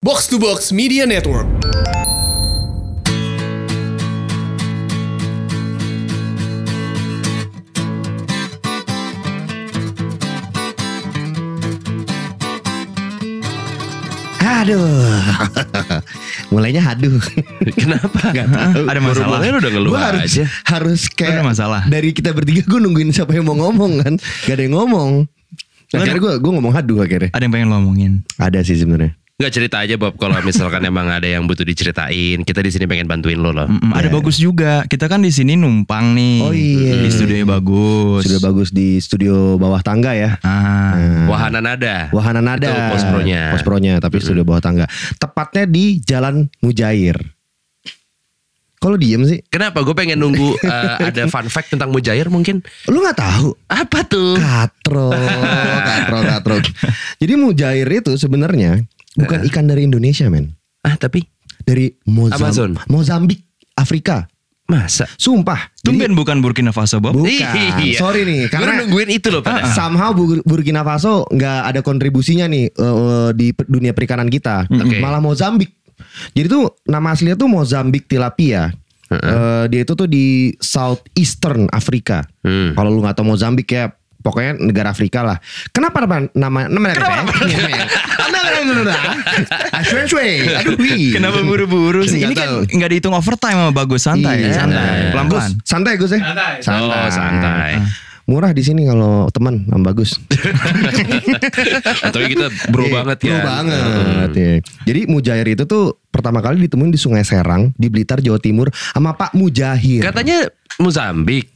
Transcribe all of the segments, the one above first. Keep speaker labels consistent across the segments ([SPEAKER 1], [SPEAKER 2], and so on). [SPEAKER 1] Box to Box Media Network.
[SPEAKER 2] Aduh. Mulainya haduh.
[SPEAKER 3] Kenapa?
[SPEAKER 2] Gak tahu.
[SPEAKER 3] Ada masalah.
[SPEAKER 2] Baru-baru
[SPEAKER 3] lu udah ngeluh
[SPEAKER 2] Gua harus,
[SPEAKER 3] aja.
[SPEAKER 2] harus kayak
[SPEAKER 3] Ada masalah.
[SPEAKER 2] dari kita bertiga gue nungguin siapa yang mau ngomong kan. Gak ada yang ngomong.
[SPEAKER 3] Lu-
[SPEAKER 2] Akhirnya gue gue ngomong haduh akhirnya.
[SPEAKER 3] Ada yang pengen lo omongin.
[SPEAKER 2] Ada sih sebenarnya.
[SPEAKER 4] Gak cerita aja Bob kalau misalkan emang ada yang butuh diceritain, kita di sini pengen bantuin lo loh.
[SPEAKER 3] Mm-mm, Ada
[SPEAKER 2] Ya.
[SPEAKER 3] bagus juga. Kita kan di sini numpang nih.
[SPEAKER 2] Oh, iya.
[SPEAKER 3] Di studionya bagus.
[SPEAKER 2] Sudah bagus di studio bawah tangga ya.
[SPEAKER 3] Ah,
[SPEAKER 2] Nah,
[SPEAKER 4] Wahana nada.
[SPEAKER 2] Wahana Nada.
[SPEAKER 4] Itu pos pronya.
[SPEAKER 2] Pos pronya, tapi studio bawah tangga. Tepatnya di Jalan Mujair. Kalau diem sih,
[SPEAKER 4] Kenapa? Gue pengen nunggu eh, ada fun fact tentang Mujair mungkin.
[SPEAKER 2] lu nggak tahu?
[SPEAKER 4] Apa tuh?
[SPEAKER 2] Katro, katro, katro. Jadi mujair itu sebenarnya bukan ikan dari Indonesia, men.
[SPEAKER 4] Ah tapi
[SPEAKER 2] Dari Mozam
[SPEAKER 4] Amazon.
[SPEAKER 2] Mozambik, Afrika.
[SPEAKER 4] masa?
[SPEAKER 2] Sumpah. Jadi-
[SPEAKER 3] tumben bukan Burkina Faso Bob.
[SPEAKER 2] bukan.
[SPEAKER 4] Iya.
[SPEAKER 2] Sorry nih,
[SPEAKER 4] Gue
[SPEAKER 2] karena Ah,
[SPEAKER 4] nungguin itu loh
[SPEAKER 3] Ah,
[SPEAKER 4] pada.
[SPEAKER 2] somehow Bur- Burkina Faso nggak ada kontribusinya nih eh, eh, di pe- dunia perikanan kita.
[SPEAKER 4] Oke.
[SPEAKER 2] Malah Mozambik. Jadi tuh nama aslinya tuh Mozambik tilapia. Eh, dia itu tuh di southeastern Afrika.
[SPEAKER 4] Hmm.
[SPEAKER 2] Kalau lu nggak tahu Mozambik ya pokoknya negara Afrika lah. Kenapa nama nama ya? nama negara? iya. Ah, Aduh, wih.
[SPEAKER 3] Kenapa buru-buru sih?
[SPEAKER 2] Iya.
[SPEAKER 3] Ini
[SPEAKER 2] Nggak
[SPEAKER 3] kan
[SPEAKER 2] tahu.
[SPEAKER 3] nggak dihitung overtime sama bagus santai,
[SPEAKER 2] Iya,
[SPEAKER 3] santai,
[SPEAKER 4] iya.
[SPEAKER 3] pelan-pelan.
[SPEAKER 2] Gus, santai Gus ya.
[SPEAKER 4] Santai. Oh, santai.
[SPEAKER 2] Murah di sini kalau teman sama bagus.
[SPEAKER 4] Tapi kita bro
[SPEAKER 2] ah. Iya,
[SPEAKER 4] banget ya.
[SPEAKER 2] Bro banget. iya. Jadi mujair itu tuh pertama kali ditemuin di Sungai Serang di Blitar Jawa Timur sama Pak Mujahir.
[SPEAKER 4] Katanya Mozambik.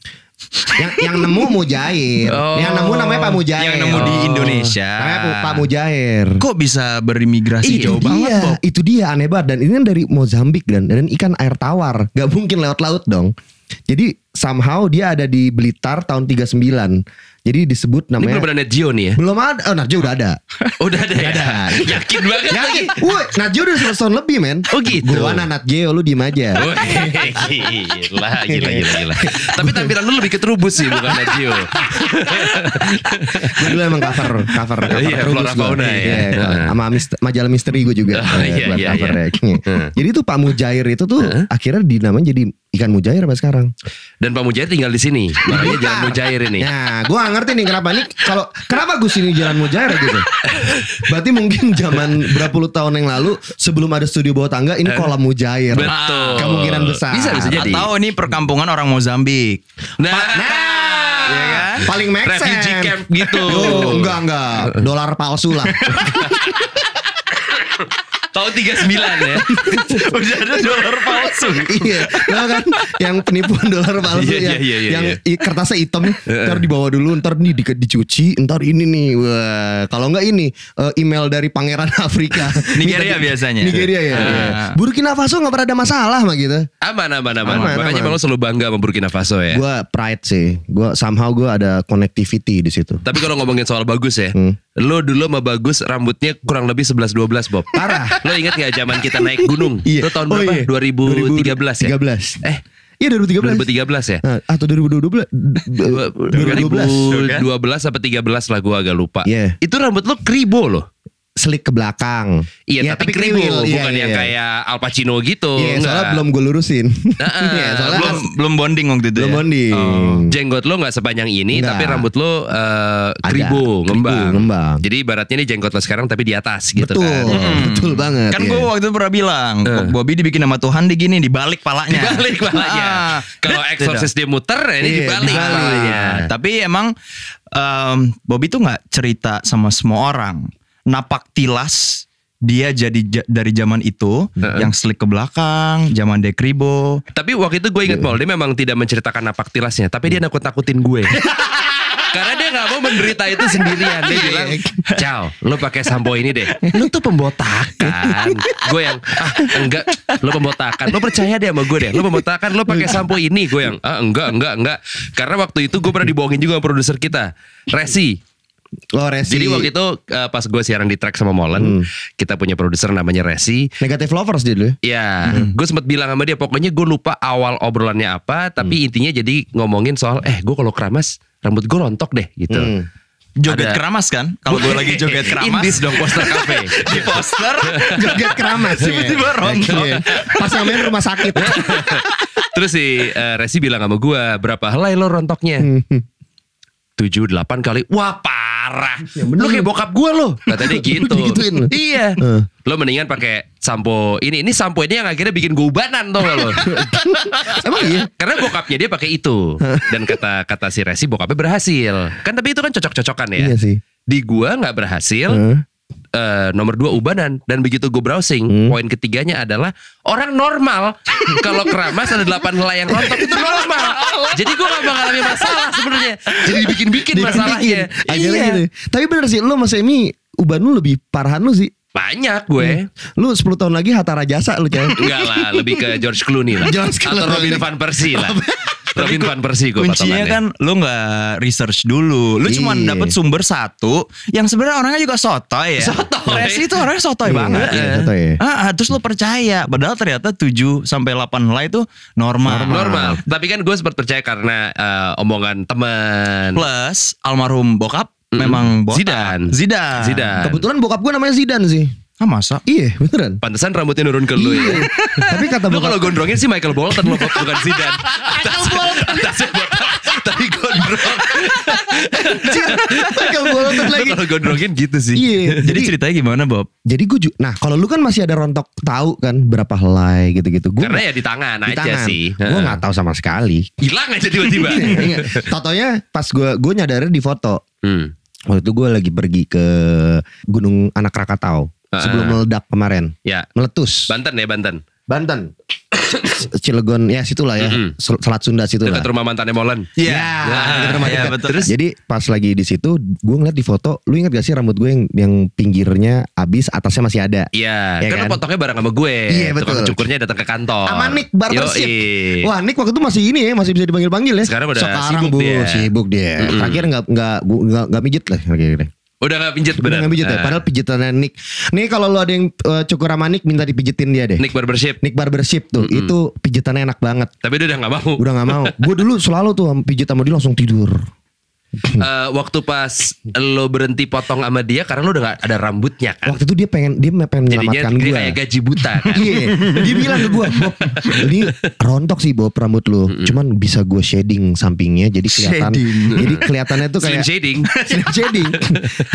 [SPEAKER 2] yang yang nemu Mujair.
[SPEAKER 4] Oh.
[SPEAKER 2] Yang nemu namanya Pak Mujair.
[SPEAKER 3] Yang nemu di
[SPEAKER 2] Oh.
[SPEAKER 3] Indonesia.
[SPEAKER 2] Namanya Pak Mujair.
[SPEAKER 3] Kok bisa berimigrasi
[SPEAKER 2] itu
[SPEAKER 3] jauh banget
[SPEAKER 2] dia,
[SPEAKER 3] Bob?
[SPEAKER 2] itu dia aneh banget dan ini kan dari Mozambik dan dan ikan air tawar, nggak mungkin lewat laut dong. Jadi somehow dia ada di Blitar tahun 39. Jadi disebut
[SPEAKER 4] Ini belum
[SPEAKER 2] namanya
[SPEAKER 4] ada Net Geo nih ya.
[SPEAKER 2] belum ada, oh Narjo udah ada.
[SPEAKER 4] Udah ada ya.
[SPEAKER 2] Ada.
[SPEAKER 4] Yakin banget lagi.
[SPEAKER 2] Yakin? Woi, Natgeo udah 100 tahun lebih men
[SPEAKER 4] Oh, gitu.
[SPEAKER 2] Gua anak Nat Geo, lu diem aja
[SPEAKER 4] Woi, Oh, gila, gila, gila, gila. Tapi tampilan lu lebih keterubus sih bukan Net Geo.
[SPEAKER 2] Gue dulu emang cover Cover, cover
[SPEAKER 4] Iya,
[SPEAKER 2] terus
[SPEAKER 4] Flora
[SPEAKER 2] gua.
[SPEAKER 4] Fauna,
[SPEAKER 2] Iya,
[SPEAKER 4] ya.
[SPEAKER 2] gua. Sama mis- majalah misteri gue juga
[SPEAKER 4] Oh,
[SPEAKER 2] eh,
[SPEAKER 4] iya,
[SPEAKER 2] buat
[SPEAKER 4] iya,
[SPEAKER 2] cover
[SPEAKER 4] iya.
[SPEAKER 2] ya. Jadi tuh Pak Mujair itu tuh Akhirnya dinamain jadi ikan mujair sampai sekarang
[SPEAKER 4] Dan Pak Mujair tinggal di sini. Makanya jalan Mujair ini.
[SPEAKER 2] Nah gue gak ngerti nih kenapa nih kalau Kenapa Gus ini jalan mujair gitu Berarti mungkin zaman berapa puluh tahun yang lalu Sebelum ada studio bawah tangga Ini kolam mujair
[SPEAKER 4] Betul.
[SPEAKER 2] Kemungkinan besar
[SPEAKER 4] Bisa, bisa jadi.
[SPEAKER 3] Atau ini perkampungan orang Mozambik.
[SPEAKER 4] Nah,
[SPEAKER 2] Nah,
[SPEAKER 4] ya kan?
[SPEAKER 2] paling make
[SPEAKER 4] Refugee
[SPEAKER 2] sense.
[SPEAKER 4] camp gitu.
[SPEAKER 2] Yo, enggak enggak, dolar palsu lah.
[SPEAKER 4] tahun 39 ya. Udah ada dolar palsu.
[SPEAKER 2] iya, Nah, kan yang penipuan dolar palsu yang,
[SPEAKER 4] Iya, iya, iya,
[SPEAKER 2] yang
[SPEAKER 4] iya.
[SPEAKER 2] i- kertasnya hitam, ntar dibawa dulu, ntar nih di, dicuci, ntar ini nih. Wah, kalau enggak ini eh, email dari pangeran Afrika. Minta
[SPEAKER 3] Nigeria
[SPEAKER 2] di-
[SPEAKER 3] biasanya.
[SPEAKER 2] Nigeria ya.
[SPEAKER 3] Ah.
[SPEAKER 2] iya. Burkina Faso enggak pernah ada masalah mah gitu.
[SPEAKER 4] Aman, aman, aman.
[SPEAKER 2] Aman,
[SPEAKER 4] Makanya
[SPEAKER 2] aman.
[SPEAKER 4] emang lo selalu bangga sama Burkina Faso ya.
[SPEAKER 2] Gue pride sih. Gue somehow gue ada connectivity di situ.
[SPEAKER 4] Tapi kalau ngomongin soal bagus ya,
[SPEAKER 2] Hmm.
[SPEAKER 4] lo dulu sama bagus rambutnya kurang lebih 11-12 Bob.
[SPEAKER 2] Parah.
[SPEAKER 4] Lo inget gak zaman kita naik gunung? Lo tahun
[SPEAKER 2] Oh,
[SPEAKER 4] berapa?
[SPEAKER 2] iya.
[SPEAKER 4] 2013 ya?
[SPEAKER 2] 2013.
[SPEAKER 4] Eh,
[SPEAKER 2] Iya 2013.
[SPEAKER 4] 2013 ya?
[SPEAKER 2] Nah, atau 2012 2012
[SPEAKER 4] 2012 apa 13 lah gue agak lupa.
[SPEAKER 2] Iya.
[SPEAKER 4] Itu rambut lo kribo loh.
[SPEAKER 2] selik ke belakang
[SPEAKER 4] Iya, tapi, kribo
[SPEAKER 2] kriwil. Iya,
[SPEAKER 4] bukan
[SPEAKER 2] iya,
[SPEAKER 4] yang
[SPEAKER 2] iya.
[SPEAKER 4] kayak Al Pacino gitu.
[SPEAKER 2] Iya, soalnya
[SPEAKER 4] enggak.
[SPEAKER 2] belum gue lurusin
[SPEAKER 4] Heeh, Iya.
[SPEAKER 2] Iya, soalnya
[SPEAKER 3] Belum
[SPEAKER 2] belum
[SPEAKER 3] Kan belum bonding waktu itu.
[SPEAKER 2] belum
[SPEAKER 3] ya?
[SPEAKER 2] bonding
[SPEAKER 4] Oh, Jenggot lo nggak sepanjang ini,
[SPEAKER 2] Nggak.
[SPEAKER 4] tapi rambut lo eh,
[SPEAKER 2] Ada.
[SPEAKER 4] kribo,
[SPEAKER 2] Kribo,
[SPEAKER 4] ngembang.
[SPEAKER 2] ngembang.
[SPEAKER 4] Jadi ibaratnya ini jenggot lo sekarang tapi di atas gitu
[SPEAKER 2] betul
[SPEAKER 4] kan.
[SPEAKER 2] betul banget
[SPEAKER 3] Kan
[SPEAKER 2] iya.
[SPEAKER 3] gue waktu itu pernah bilang, Bobby dibikin sama Tuhan di gini, dibalik palanya.
[SPEAKER 4] Dibalik palanya.
[SPEAKER 3] Ah.
[SPEAKER 4] Kalau
[SPEAKER 3] Dit,
[SPEAKER 4] eksorsis dia muter, ini
[SPEAKER 2] Iya,
[SPEAKER 4] dibalik
[SPEAKER 2] dibalik.
[SPEAKER 4] palanya.
[SPEAKER 3] Nah, tapi emang em, Bobby tuh nggak cerita sama semua orang. Napak tilas dia jadi ja- dari zaman itu yang slick ke belakang, zaman dekribo.
[SPEAKER 4] Tapi waktu itu gue inget Mol, dia memang tidak menceritakan napak tilasnya, tapi dia nakut-nakutin gue. Karena dia gak mau menderita itu sendirian Dia bilang Ciao Lu pakai sampo ini deh Lu tuh pembotakan Gue yang Ah enggak Lu pembotakan Lu percaya deh sama gue deh Lu pembotakan Lu pakai sampo ini Gue yang Ah enggak enggak enggak Karena waktu itu gue pernah dibohongin juga sama produser kita Resi
[SPEAKER 2] lo Oh, resi
[SPEAKER 4] Jadi waktu itu eh, pas gue siaran di track sama
[SPEAKER 3] Hmm.
[SPEAKER 4] Molen Kita punya produser namanya Resi
[SPEAKER 2] negatif lovers dia dulu ya?
[SPEAKER 4] Ya,
[SPEAKER 3] Hmm.
[SPEAKER 4] gue sempat bilang sama dia, pokoknya gue lupa awal obrolannya
[SPEAKER 2] Hmm.
[SPEAKER 3] Hmm.
[SPEAKER 4] apa, tapi intinya jadi ngomongin soal, eh gue kalau keramas rambut gue rontok deh gitu. Ada-
[SPEAKER 3] joget keramas kan? Hmm. Kalau gue lagi joget
[SPEAKER 4] Indis
[SPEAKER 3] keramas
[SPEAKER 4] dong poster kafe.
[SPEAKER 3] di poster
[SPEAKER 2] Joget keramas. ya.
[SPEAKER 3] Tiba-tiba rontok.
[SPEAKER 2] Iya. Pas sampein rumah sakit.
[SPEAKER 4] Terus si eh, Resi bilang sama gue berapa helai lo
[SPEAKER 3] Hmm.
[SPEAKER 4] rontoknya? Tujuh delapan kali. Wah parah.
[SPEAKER 2] Ya, bener.
[SPEAKER 4] Lo kayak bokap gue lo. Kata dia gitu.
[SPEAKER 2] Digituin lo.
[SPEAKER 4] iya.
[SPEAKER 2] Eh.
[SPEAKER 4] Lo mendingan pakai sampo ini. Ini sampo ini yang akhirnya bikin gue ubanan tau gak lo.
[SPEAKER 2] Emang iya?
[SPEAKER 4] Karena bokapnya dia pakai itu. Dan kata kata si Resi bokapnya berhasil. Kan tapi itu kan cocok-cocokan ya.
[SPEAKER 2] Iya sih.
[SPEAKER 4] Di gua nggak berhasil.
[SPEAKER 2] Heeh.
[SPEAKER 4] eh, nomor dua ubanan dan begitu gue browsing poin ketiganya adalah orang normal kalau keramas ada delapan helai yang rontok itu normal jadi gue gak mengalami masalah sebenarnya jadi dibikin-bikin
[SPEAKER 2] Dibikin-bikin.
[SPEAKER 4] masalahnya
[SPEAKER 2] Akhirnya
[SPEAKER 4] iya
[SPEAKER 2] gitu. Tapi bener sih lu Mas Emi uban lu lebih parahan lu sih.
[SPEAKER 4] banyak gue
[SPEAKER 2] Lu 10 tahun lagi Hatta Rajasa lu coy.
[SPEAKER 4] enggak lah lebih ke George Clooney lah
[SPEAKER 2] George
[SPEAKER 4] atau
[SPEAKER 2] Clooney.
[SPEAKER 4] Robin van Persie lah Robin van Persie gue
[SPEAKER 3] kuncinya kan lu nggak research dulu lu cuma
[SPEAKER 2] Iya.
[SPEAKER 3] dapet sumber satu yang sebenarnya orangnya juga sotoy ya
[SPEAKER 4] Sotoy.
[SPEAKER 3] Resi itu orangnya sotoy
[SPEAKER 2] Iya,
[SPEAKER 3] banget
[SPEAKER 2] iya, sotoy.
[SPEAKER 3] Ah, ah, terus lu percaya padahal ternyata 7 sampai 8 helai itu normal.
[SPEAKER 4] normal tapi kan gue sempat percaya karena eh, omongan teman
[SPEAKER 3] plus almarhum bokap memang botak
[SPEAKER 4] Zidane.
[SPEAKER 3] Zidane
[SPEAKER 4] Zidane
[SPEAKER 2] Kebetulan bokap gue namanya Zidane sih.
[SPEAKER 3] ah masa
[SPEAKER 2] Iya beneran.
[SPEAKER 4] Pantesan rambutnya nurun ke lu
[SPEAKER 2] Iya.
[SPEAKER 4] ya.
[SPEAKER 2] Tapi kata
[SPEAKER 4] Lu
[SPEAKER 2] bokap-
[SPEAKER 4] kalau gondrongin sih Michael Bolton lo bukan Zidane. Michael Bolton. Tapi gondrong.
[SPEAKER 2] Michael Bolton
[SPEAKER 4] Lu
[SPEAKER 2] lagi.
[SPEAKER 4] kalau gondrongin gitu sih.
[SPEAKER 2] Iya.
[SPEAKER 3] jadi ceritanya gimana Bob
[SPEAKER 2] Jadi gue ju- nah kalau lu kan masih ada rontok tahu kan berapa helai gitu-gitu. Gua
[SPEAKER 4] Karena
[SPEAKER 2] nggak-
[SPEAKER 4] ya di tangan
[SPEAKER 2] di
[SPEAKER 4] aja
[SPEAKER 2] tangan.
[SPEAKER 4] sih.
[SPEAKER 2] Gue nggak Iya. tahu sama sekali.
[SPEAKER 4] Hilang aja tiba-tiba.
[SPEAKER 2] Ingat, Totonya pas gue gue nyadarin di foto.
[SPEAKER 4] hmm.
[SPEAKER 2] Waktu itu gue lagi pergi ke Gunung Anak Rakatau sebelum meledak kemarin.
[SPEAKER 4] Ya.
[SPEAKER 2] Meletus.
[SPEAKER 4] Banten ya Banten.
[SPEAKER 2] Banten. Cilegon ya situlah ya.
[SPEAKER 4] Mm-mm.
[SPEAKER 2] Sel- Selat Sunda situlah.
[SPEAKER 4] Dekat rumah mantannya Molen. Ya.
[SPEAKER 2] Iya.
[SPEAKER 3] Iya,
[SPEAKER 2] rumah
[SPEAKER 3] iya,
[SPEAKER 2] dekat.
[SPEAKER 3] betul.
[SPEAKER 2] Terus jadi pas lagi di situ gue ngeliat di foto, lu ingat gak sih rambut gue yang yang pinggirnya abis, atasnya masih ada.
[SPEAKER 4] Iya,
[SPEAKER 2] Iya
[SPEAKER 4] kan, lu
[SPEAKER 2] kan?
[SPEAKER 4] potongnya bareng sama gue.
[SPEAKER 2] Iya,
[SPEAKER 4] Tukang
[SPEAKER 2] betul.
[SPEAKER 4] cukurnya datang ke kantor.
[SPEAKER 2] Sama Nick Barbership.
[SPEAKER 4] Yoi.
[SPEAKER 2] Wah Nick waktu itu masih ini ya, masih bisa dipanggil-panggil ya.
[SPEAKER 4] Sekarang udah sibuk
[SPEAKER 2] Bu,
[SPEAKER 4] dia.
[SPEAKER 2] sibuk dia.
[SPEAKER 4] Mm-mm.
[SPEAKER 2] Terakhir nggak nggak gua- nggak nggak mijit lah kira-kira.
[SPEAKER 4] Udah gak pinjet
[SPEAKER 2] Udah
[SPEAKER 4] benar. Ah.
[SPEAKER 2] nggak mijit ya. Padahal pijitannya Nick. Nih kalau lu ada yang eh, cukur sama Nick minta dipijitin dia deh. Nick,
[SPEAKER 4] Nick Barbership.
[SPEAKER 2] Barbership tuh, itu pijitannya enak banget.
[SPEAKER 4] Tapi dia udah gak mau.
[SPEAKER 2] Udah nggak mau. gue dulu selalu tuh pijit sama dia langsung tidur.
[SPEAKER 4] Eh, waktu pas lo berhenti potong sama dia karena lo udah gak ada rambutnya kan.
[SPEAKER 2] Waktu itu dia pengen dia pengen
[SPEAKER 4] Jadinya
[SPEAKER 2] menyelamatkan
[SPEAKER 4] dia
[SPEAKER 2] gue.
[SPEAKER 4] kayak gaji buta kan.
[SPEAKER 2] Iya, dia bilang ke gue, Bob, ini rontok sih Bob rambut lu, cuman bisa gue shading sampingnya, jadi kelihatan,
[SPEAKER 3] Shading.
[SPEAKER 2] jadi kelihatannya tuh
[SPEAKER 4] Slim
[SPEAKER 2] kayak
[SPEAKER 4] shading.
[SPEAKER 2] Slim shading,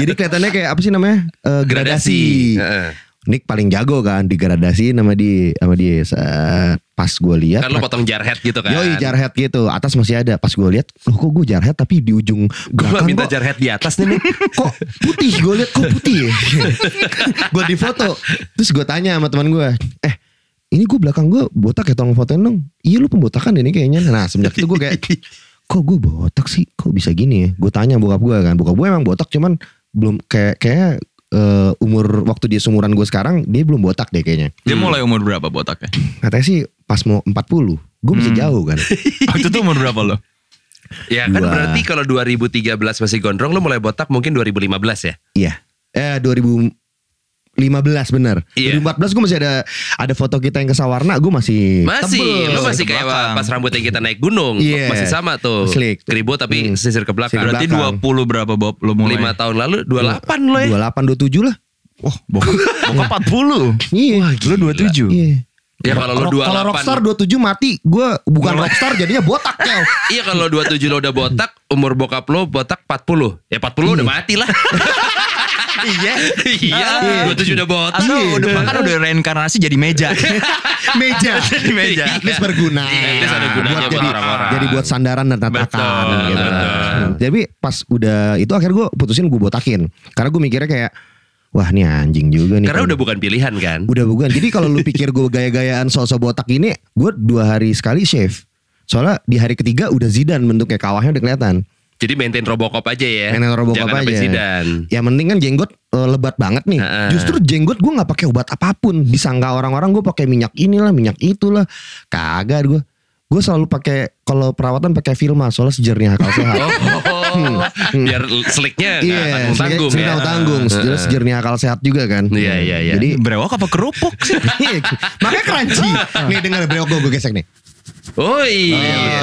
[SPEAKER 2] jadi kelihatannya kayak apa sih namanya Eh,
[SPEAKER 4] Gradasi. Ya,
[SPEAKER 2] gradasi.
[SPEAKER 4] Heeh.
[SPEAKER 2] Nick paling jago kan digradasi nama dia, sama dia. Saat pas gue lihat,
[SPEAKER 4] Kan lo potong jarhead gitu kan.
[SPEAKER 2] Yoi jarhead gitu Atas masih ada Pas gue lihat Loh kok gue jarhead Tapi di ujung
[SPEAKER 4] Gue
[SPEAKER 2] belakang
[SPEAKER 4] minta
[SPEAKER 2] kok-
[SPEAKER 4] jarhead di atas nih. Nek.
[SPEAKER 2] kok putih gue liat kok putih ya? gue di foto terus gue tanya sama teman gue eh ini gue belakang gue botak ya tolong fotoin dong iya lu pembotakan ini kayaknya nah semenjak itu gue kayak kok gue botak sih kok bisa gini ya gue tanya bokap gue kan bokap gue emang botak cuman belum kayak kayak eh, umur waktu dia seumuran gue sekarang dia belum botak deh kayaknya
[SPEAKER 3] dia mulai umur berapa botaknya
[SPEAKER 2] katanya sih pas mau 40 gue masih jauh kan
[SPEAKER 3] waktu itu umur berapa lo
[SPEAKER 4] ya kan
[SPEAKER 2] Dua.
[SPEAKER 4] berarti kalau 2013 masih gondrong lo mulai botak mungkin 2015 ya.
[SPEAKER 2] Iya. Eh 2015 bener.
[SPEAKER 4] Iya.
[SPEAKER 2] 2014 gue masih ada ada foto kita yang ke Sawarna, gue masih
[SPEAKER 4] Masih,
[SPEAKER 2] Iya. tebel.
[SPEAKER 4] lo masih kayak
[SPEAKER 3] belakang.
[SPEAKER 4] pas rambut yang kita naik gunung,
[SPEAKER 2] Iya.
[SPEAKER 4] masih sama tuh.
[SPEAKER 2] Slick.
[SPEAKER 4] Keribut tapi
[SPEAKER 2] Hmm.
[SPEAKER 4] sisir ke belakang.
[SPEAKER 2] Sisir
[SPEAKER 3] berarti
[SPEAKER 2] Belakang.
[SPEAKER 3] 20 berapa Bob lo mulai
[SPEAKER 4] 5 tahun lalu 28 lo ya.
[SPEAKER 2] 28 27 lah.
[SPEAKER 3] wah bokap bokap 40
[SPEAKER 2] Iya.
[SPEAKER 3] lo 27
[SPEAKER 2] Iya.
[SPEAKER 4] gitu. Ya kalau lo
[SPEAKER 2] Rock- kalau
[SPEAKER 4] 28.
[SPEAKER 2] rockstar 27 mati, gue bukan rockstar jadinya botak kel.
[SPEAKER 4] Iya kalau 27 lo udah botak, umur bokap lo botak 40. Ya 40 udah mati lah.
[SPEAKER 3] iya
[SPEAKER 4] iya,
[SPEAKER 3] Ah.
[SPEAKER 4] 27 udah botak.
[SPEAKER 3] atau
[SPEAKER 2] Iya.
[SPEAKER 3] udah bahkan udah reinkarnasi jadi meja
[SPEAKER 2] Meja.
[SPEAKER 3] Di meja.
[SPEAKER 2] At least berguna.
[SPEAKER 4] Iya, at least ada gunanya
[SPEAKER 2] buat
[SPEAKER 4] buat
[SPEAKER 2] jadi,
[SPEAKER 4] orang-orang.
[SPEAKER 2] jadi buat sandaran dan tatakan
[SPEAKER 4] Betul,
[SPEAKER 2] gitu.
[SPEAKER 4] betul.
[SPEAKER 2] Jadi pas udah itu akhirnya gue putusin gue botakin. Karena gue mikirnya kayak wah ini anjing juga nih.
[SPEAKER 4] Karena udah bukan pilihan kan.
[SPEAKER 2] Udah bukan. Jadi kalau lu pikir gue gaya-gayaan sosok botak ini, gue dua hari sekali shave. Soalnya di hari ketiga udah Zidane bentuknya kawahnya udah kelihatan.
[SPEAKER 4] Jadi maintain Robocop aja ya.
[SPEAKER 2] Maintain Robocop
[SPEAKER 4] Jangan sampai
[SPEAKER 2] aja.
[SPEAKER 4] Zidane.
[SPEAKER 2] Ya penting kan jenggot eh, lebat banget nih.
[SPEAKER 4] Heeh.
[SPEAKER 2] Justru jenggot gue nggak pakai obat apapun. Disangka orang-orang gue pakai minyak inilah, minyak itulah. Kagak gue. Gue selalu pakai kalau perawatan pakai Filma soalnya sejernih akal sehat.
[SPEAKER 4] Oh, biar slicknya nggak
[SPEAKER 2] Hmm. Iya,
[SPEAKER 4] tanggung-tanggung ya.
[SPEAKER 2] tanggung tanggung. Sejernih sejernih akal sehat juga kan.
[SPEAKER 4] Iya, iya, iya.
[SPEAKER 2] Jadi
[SPEAKER 3] berewok apa kerupuk sih
[SPEAKER 2] Makanya crunchy. Nih dengar brewok gue, gue gesek nih.
[SPEAKER 4] Oh iya.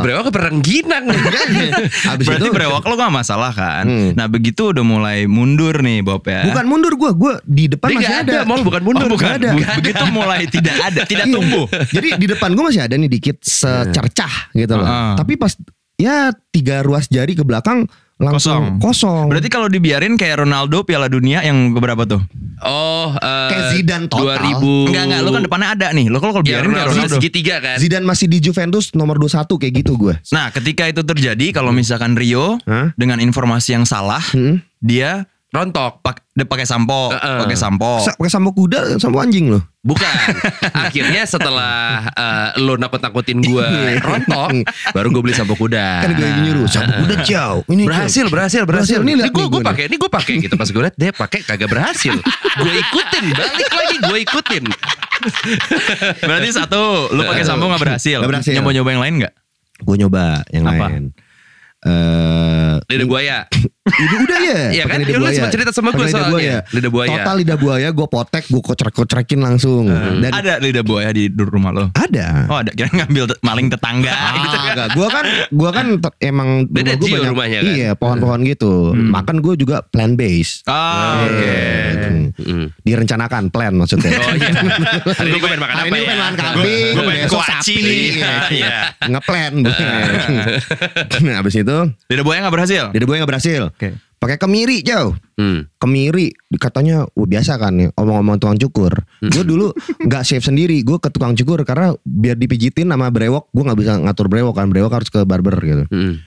[SPEAKER 4] Berapa ke Perengginang.
[SPEAKER 2] Habis
[SPEAKER 3] Berarti
[SPEAKER 2] itu
[SPEAKER 3] brewok lo gak masalah kan?
[SPEAKER 2] Hmm.
[SPEAKER 3] Nah begitu udah mulai mundur nih Bob ya.
[SPEAKER 2] bukan mundur gue, gue di depan
[SPEAKER 4] Dia
[SPEAKER 2] masih
[SPEAKER 4] nggak
[SPEAKER 2] ada.
[SPEAKER 4] ada, Mol, bukan mundur.
[SPEAKER 3] Oh, bukan.
[SPEAKER 4] Nggak ada.
[SPEAKER 3] Bu- begitu mulai tidak ada, tidak
[SPEAKER 2] Iya.
[SPEAKER 3] tumbuh.
[SPEAKER 2] Jadi di depan gue masih ada nih dikit secercah gitu loh.
[SPEAKER 4] Ah.
[SPEAKER 3] Heeh.
[SPEAKER 2] Tapi pas ya tiga ruas jari ke belakang langsung
[SPEAKER 3] Kosong.
[SPEAKER 2] kosong.
[SPEAKER 3] Berarti kalau dibiarin kayak Ronaldo Piala Dunia yang keberapa tuh?
[SPEAKER 4] Oh, eh,
[SPEAKER 2] Kayak Zidane total.
[SPEAKER 4] 2000.
[SPEAKER 3] Enggak enggak, lo kan depannya ada nih. Lo kalau kalau
[SPEAKER 4] Ya,
[SPEAKER 3] biarin kayak
[SPEAKER 4] Ronaldo
[SPEAKER 3] Ronaldo.
[SPEAKER 4] segitiga kan.
[SPEAKER 2] Zidane masih di Juventus nomor 21 kayak gitu gue.
[SPEAKER 3] Nah, ketika itu terjadi kalau misalkan Rio
[SPEAKER 2] Hah?
[SPEAKER 3] dengan informasi yang salah,
[SPEAKER 2] Hmm.
[SPEAKER 3] dia
[SPEAKER 4] Rontok.
[SPEAKER 3] pak- dia pakai sampo,
[SPEAKER 4] Heeh.
[SPEAKER 3] pakai
[SPEAKER 4] Oh.
[SPEAKER 3] sampo.
[SPEAKER 2] Sa- Pakai sampo kuda, sampo anjing loh.
[SPEAKER 4] Bukan. Akhirnya setelah eh, lo nakut-nakutin gue rontok, baru gue beli sampo kuda.
[SPEAKER 2] Kan gue yang nyuruh sampo kuda jauh. Ini ciao.
[SPEAKER 4] Ah. berhasil, berhasil,
[SPEAKER 2] Berhasil,
[SPEAKER 4] berhasil.
[SPEAKER 2] nih
[SPEAKER 4] Ini
[SPEAKER 2] liat
[SPEAKER 4] gue
[SPEAKER 2] nih
[SPEAKER 4] gue
[SPEAKER 2] gua
[SPEAKER 4] pakai, ini gue pakai gitu. Pas gue liat dia pakai kagak berhasil. gue ikutin, balik lagi gue ikutin.
[SPEAKER 3] Berarti satu, lo pakai sampo nggak berhasil.
[SPEAKER 2] Nggak berhasil.
[SPEAKER 3] Nyoba-nyoba yang lain nggak?
[SPEAKER 2] Gue nyoba yang
[SPEAKER 3] Apa?
[SPEAKER 2] lain. Eh,
[SPEAKER 4] Lidah buaya.
[SPEAKER 2] udah, udah ya.
[SPEAKER 4] Iya
[SPEAKER 2] pakai
[SPEAKER 4] kan?
[SPEAKER 2] lidah
[SPEAKER 4] Ya, lu
[SPEAKER 2] buaya.
[SPEAKER 4] sempat cerita sama
[SPEAKER 2] Pakai
[SPEAKER 4] gua
[SPEAKER 2] lidah
[SPEAKER 4] soalnya.
[SPEAKER 2] buaya.
[SPEAKER 4] Lidah buaya.
[SPEAKER 2] Total lidah buaya gue potek, gue kocrek-kocrekin langsung. Dan
[SPEAKER 3] Ada lidah buaya di di rumah lo.
[SPEAKER 2] ada.
[SPEAKER 3] Oh ada, kira ngambil te- maling tetangga. gitu.
[SPEAKER 2] Enggak, gua kan gua kan ter- emang rumah
[SPEAKER 4] Beda
[SPEAKER 2] gua
[SPEAKER 4] geo rumahnya kan?
[SPEAKER 2] Iya, pohon-pohon gitu. Makan gua juga plant based. Gitu.
[SPEAKER 3] Ah, oke.
[SPEAKER 4] Mm.
[SPEAKER 2] Direncanakan plan maksudnya.
[SPEAKER 4] Oh iya. Hari ini gue pengen makan
[SPEAKER 2] Hari
[SPEAKER 4] apa
[SPEAKER 2] ini
[SPEAKER 4] ya?
[SPEAKER 2] gua pengen makan kambing,
[SPEAKER 3] Gue pengen
[SPEAKER 2] besok
[SPEAKER 3] kuaci
[SPEAKER 2] sapi.
[SPEAKER 3] nih.
[SPEAKER 2] Iya.
[SPEAKER 3] Iya.
[SPEAKER 2] Ngeplan. gua. Nah, abis itu
[SPEAKER 3] Lidah buaya nggak berhasil.
[SPEAKER 2] dia buaya nggak berhasil.
[SPEAKER 3] Oke.
[SPEAKER 2] Pakai kemiri jauh.
[SPEAKER 4] Hmm.
[SPEAKER 2] Kemiri katanya "Wah, biasa kan nih omong-omong tukang cukur.
[SPEAKER 4] Hmm.
[SPEAKER 2] Gue dulu nggak shave sendiri, gue ke tukang cukur karena biar dipijitin sama brewok, gue nggak bisa ngatur brewok kan brewok harus ke barber gitu.
[SPEAKER 4] Hmm.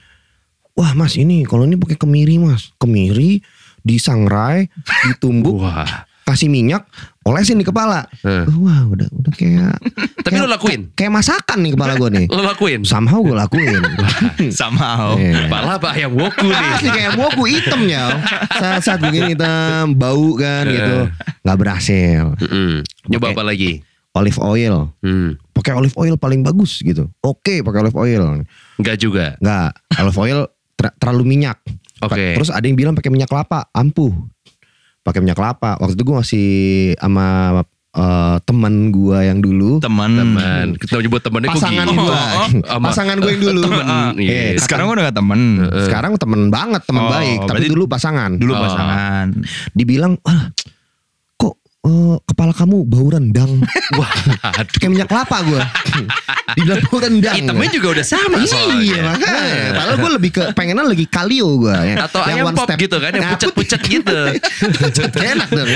[SPEAKER 2] Wah mas ini kalau ini pakai kemiri mas Kemiri disangrai Ditumbuk
[SPEAKER 4] Wah.
[SPEAKER 2] Kasih minyak Olesin di kepala
[SPEAKER 4] Hmm.
[SPEAKER 2] Wah udah udah kayak
[SPEAKER 4] Tapi lo lakuin.
[SPEAKER 2] Kayak masakan nih kepala gue nih
[SPEAKER 4] Lo lakuin.
[SPEAKER 2] Somehow gue lakuin
[SPEAKER 4] Oh.
[SPEAKER 3] Sama.
[SPEAKER 2] Hmm. Iya.
[SPEAKER 4] Kepala apa ayam woku nih?
[SPEAKER 2] Asli kayak mau gue hitam ya Saat, saat gue gini hitam Bau kan
[SPEAKER 4] Eh.
[SPEAKER 2] gitu Gak berhasil
[SPEAKER 4] Mm-mm. Nyoba
[SPEAKER 2] Oke.
[SPEAKER 4] apa lagi?
[SPEAKER 2] Olive oil
[SPEAKER 4] Hmm.
[SPEAKER 2] Pakai olive oil paling bagus gitu Oke pakai olive oil
[SPEAKER 4] Enggak juga.
[SPEAKER 2] Nggak Olive oil ter- terlalu minyak
[SPEAKER 4] Oke.
[SPEAKER 2] Terus ada yang bilang pakai minyak kelapa, ampuh. Pakai minyak kelapa. Waktu itu gue masih sama eh, teman gue yang dulu,
[SPEAKER 3] Teman.
[SPEAKER 4] Teman, kita nyebut temennya kok gitu.
[SPEAKER 2] pasangan
[SPEAKER 4] gini?
[SPEAKER 2] gue,
[SPEAKER 3] Oh,
[SPEAKER 4] Sama-
[SPEAKER 2] pasangan gue yang dulu.
[SPEAKER 4] Temen, iya.
[SPEAKER 2] Iya, kakak-
[SPEAKER 3] Sekarang udah gak temen.
[SPEAKER 2] sekarang temen banget, temen
[SPEAKER 3] Oh,
[SPEAKER 2] baik. Tapi
[SPEAKER 3] berarti
[SPEAKER 2] dulu pasangan.
[SPEAKER 3] Dulu
[SPEAKER 4] Oh.
[SPEAKER 3] pasangan.
[SPEAKER 2] Dibilang, "Ah, kok eh, kepala kamu bau rendang? Wah,
[SPEAKER 4] Aduh.
[SPEAKER 2] kayak minyak kelapa gue. Dibilang bau rendang.
[SPEAKER 4] Hitamnya juga udah sama
[SPEAKER 2] Iya
[SPEAKER 4] soalnya. Nah.
[SPEAKER 2] makanya Padahal gue lebih ke Pengennya lagi kalio gue ya.
[SPEAKER 4] Atau
[SPEAKER 2] Yang
[SPEAKER 4] ayam
[SPEAKER 2] one
[SPEAKER 4] pop
[SPEAKER 2] step.
[SPEAKER 4] gitu kan, yang
[SPEAKER 2] Nah,
[SPEAKER 4] pucat-pucat gitu.
[SPEAKER 2] enak dong.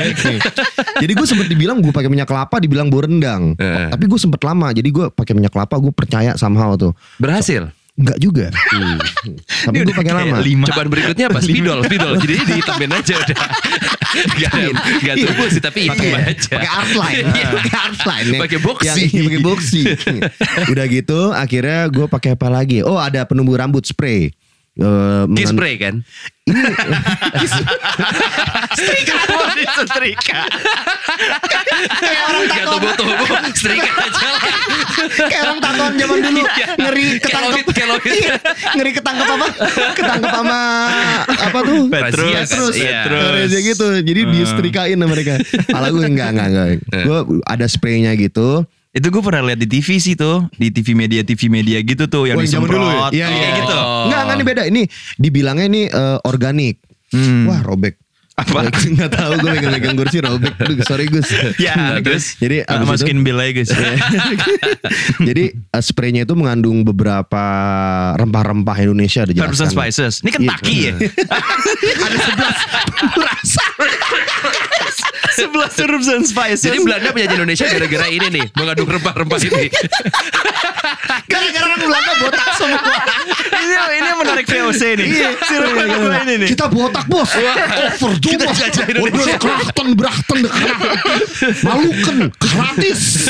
[SPEAKER 2] jadi gue sempet dibilang gue pakai minyak kelapa, dibilang bau rendang.
[SPEAKER 4] Eh.
[SPEAKER 2] Tapi gue sempet lama, jadi gue pakai minyak kelapa, gue percaya somehow tuh.
[SPEAKER 4] Berhasil.
[SPEAKER 2] Enggak juga.
[SPEAKER 4] Hmm.
[SPEAKER 2] Tapi
[SPEAKER 3] Ini
[SPEAKER 2] gue
[SPEAKER 3] udah
[SPEAKER 2] pakai
[SPEAKER 3] kayak
[SPEAKER 2] lama.
[SPEAKER 3] Lima.
[SPEAKER 4] Cobaan berikutnya apa? Spidol, spidol. Jadi dihitamin aja udah. Gak, gak tumbuh sih, tapi
[SPEAKER 2] Iya. Pakai
[SPEAKER 4] hitam aja. Iya.
[SPEAKER 2] pakai artline, pakai artline, nih.
[SPEAKER 4] Pakai boxy.
[SPEAKER 2] Yang ini pakai boxy. Udah gitu, akhirnya gue pakai apa lagi? Oh ada penumbuh rambut spray. Eh,
[SPEAKER 4] Kiss
[SPEAKER 2] mengan-
[SPEAKER 4] spray kan?
[SPEAKER 3] Setrika.
[SPEAKER 4] Gak tumbuh-tumbuh, setrika aja lah.
[SPEAKER 2] Kayak orang tatoan zaman dulu
[SPEAKER 4] Iya.
[SPEAKER 2] ngeri ketangkep.
[SPEAKER 4] Kelowit, kelowit.
[SPEAKER 2] Iya, ngeri ketangkep apa? Ketangkep sama apa tuh?
[SPEAKER 3] Petrus,
[SPEAKER 2] Iya, Petrus.
[SPEAKER 4] iya.
[SPEAKER 2] Terus ya gitu. Jadi
[SPEAKER 3] Hmm.
[SPEAKER 2] disetrikain sama mereka. Kalau gue enggak enggak enggak.
[SPEAKER 4] Eh.
[SPEAKER 2] Gue ada spraynya gitu.
[SPEAKER 3] Itu gue pernah lihat di TV sih tuh, di TV media TV media gitu tuh yang
[SPEAKER 2] Wah, zaman dulu ya?
[SPEAKER 3] disemprot.
[SPEAKER 2] Iya,
[SPEAKER 3] Kayak
[SPEAKER 2] iya.
[SPEAKER 3] gitu.
[SPEAKER 2] Enggak enggak ini beda. Ini dibilangnya ini eh, organik.
[SPEAKER 3] Hmm.
[SPEAKER 2] Wah, robek.
[SPEAKER 3] Apa?
[SPEAKER 2] Enggak tahu gue megang-megang kursi robek. Aduh, sorry Gus.
[SPEAKER 3] Ya, Gus.
[SPEAKER 2] Jadi abis
[SPEAKER 3] Nah,
[SPEAKER 2] itu- Iya,
[SPEAKER 3] masukin bill aja, Gus.
[SPEAKER 2] Jadi eh, spraynya itu mengandung beberapa rempah-rempah Indonesia
[SPEAKER 3] Herbs and
[SPEAKER 2] dijelaskan.
[SPEAKER 3] spices. Ini
[SPEAKER 2] Iya.
[SPEAKER 3] Kentucky ya.
[SPEAKER 2] Ada sebelas rasa.
[SPEAKER 3] Sebelas herbs and spices.
[SPEAKER 4] Jadi Belanda menjajah Indonesia gara-gara ini nih, mengaduk rempah-rempah ini.
[SPEAKER 2] Gara-gara orang Belanda botak semua.
[SPEAKER 3] ini, ini menarik VOC nih. Sirup
[SPEAKER 2] Iya,
[SPEAKER 3] gua ini nih.
[SPEAKER 2] Kita botak bos. Over
[SPEAKER 4] Kita jajah Indonesia.
[SPEAKER 2] Krachten, Brachten, Malukan, gratis.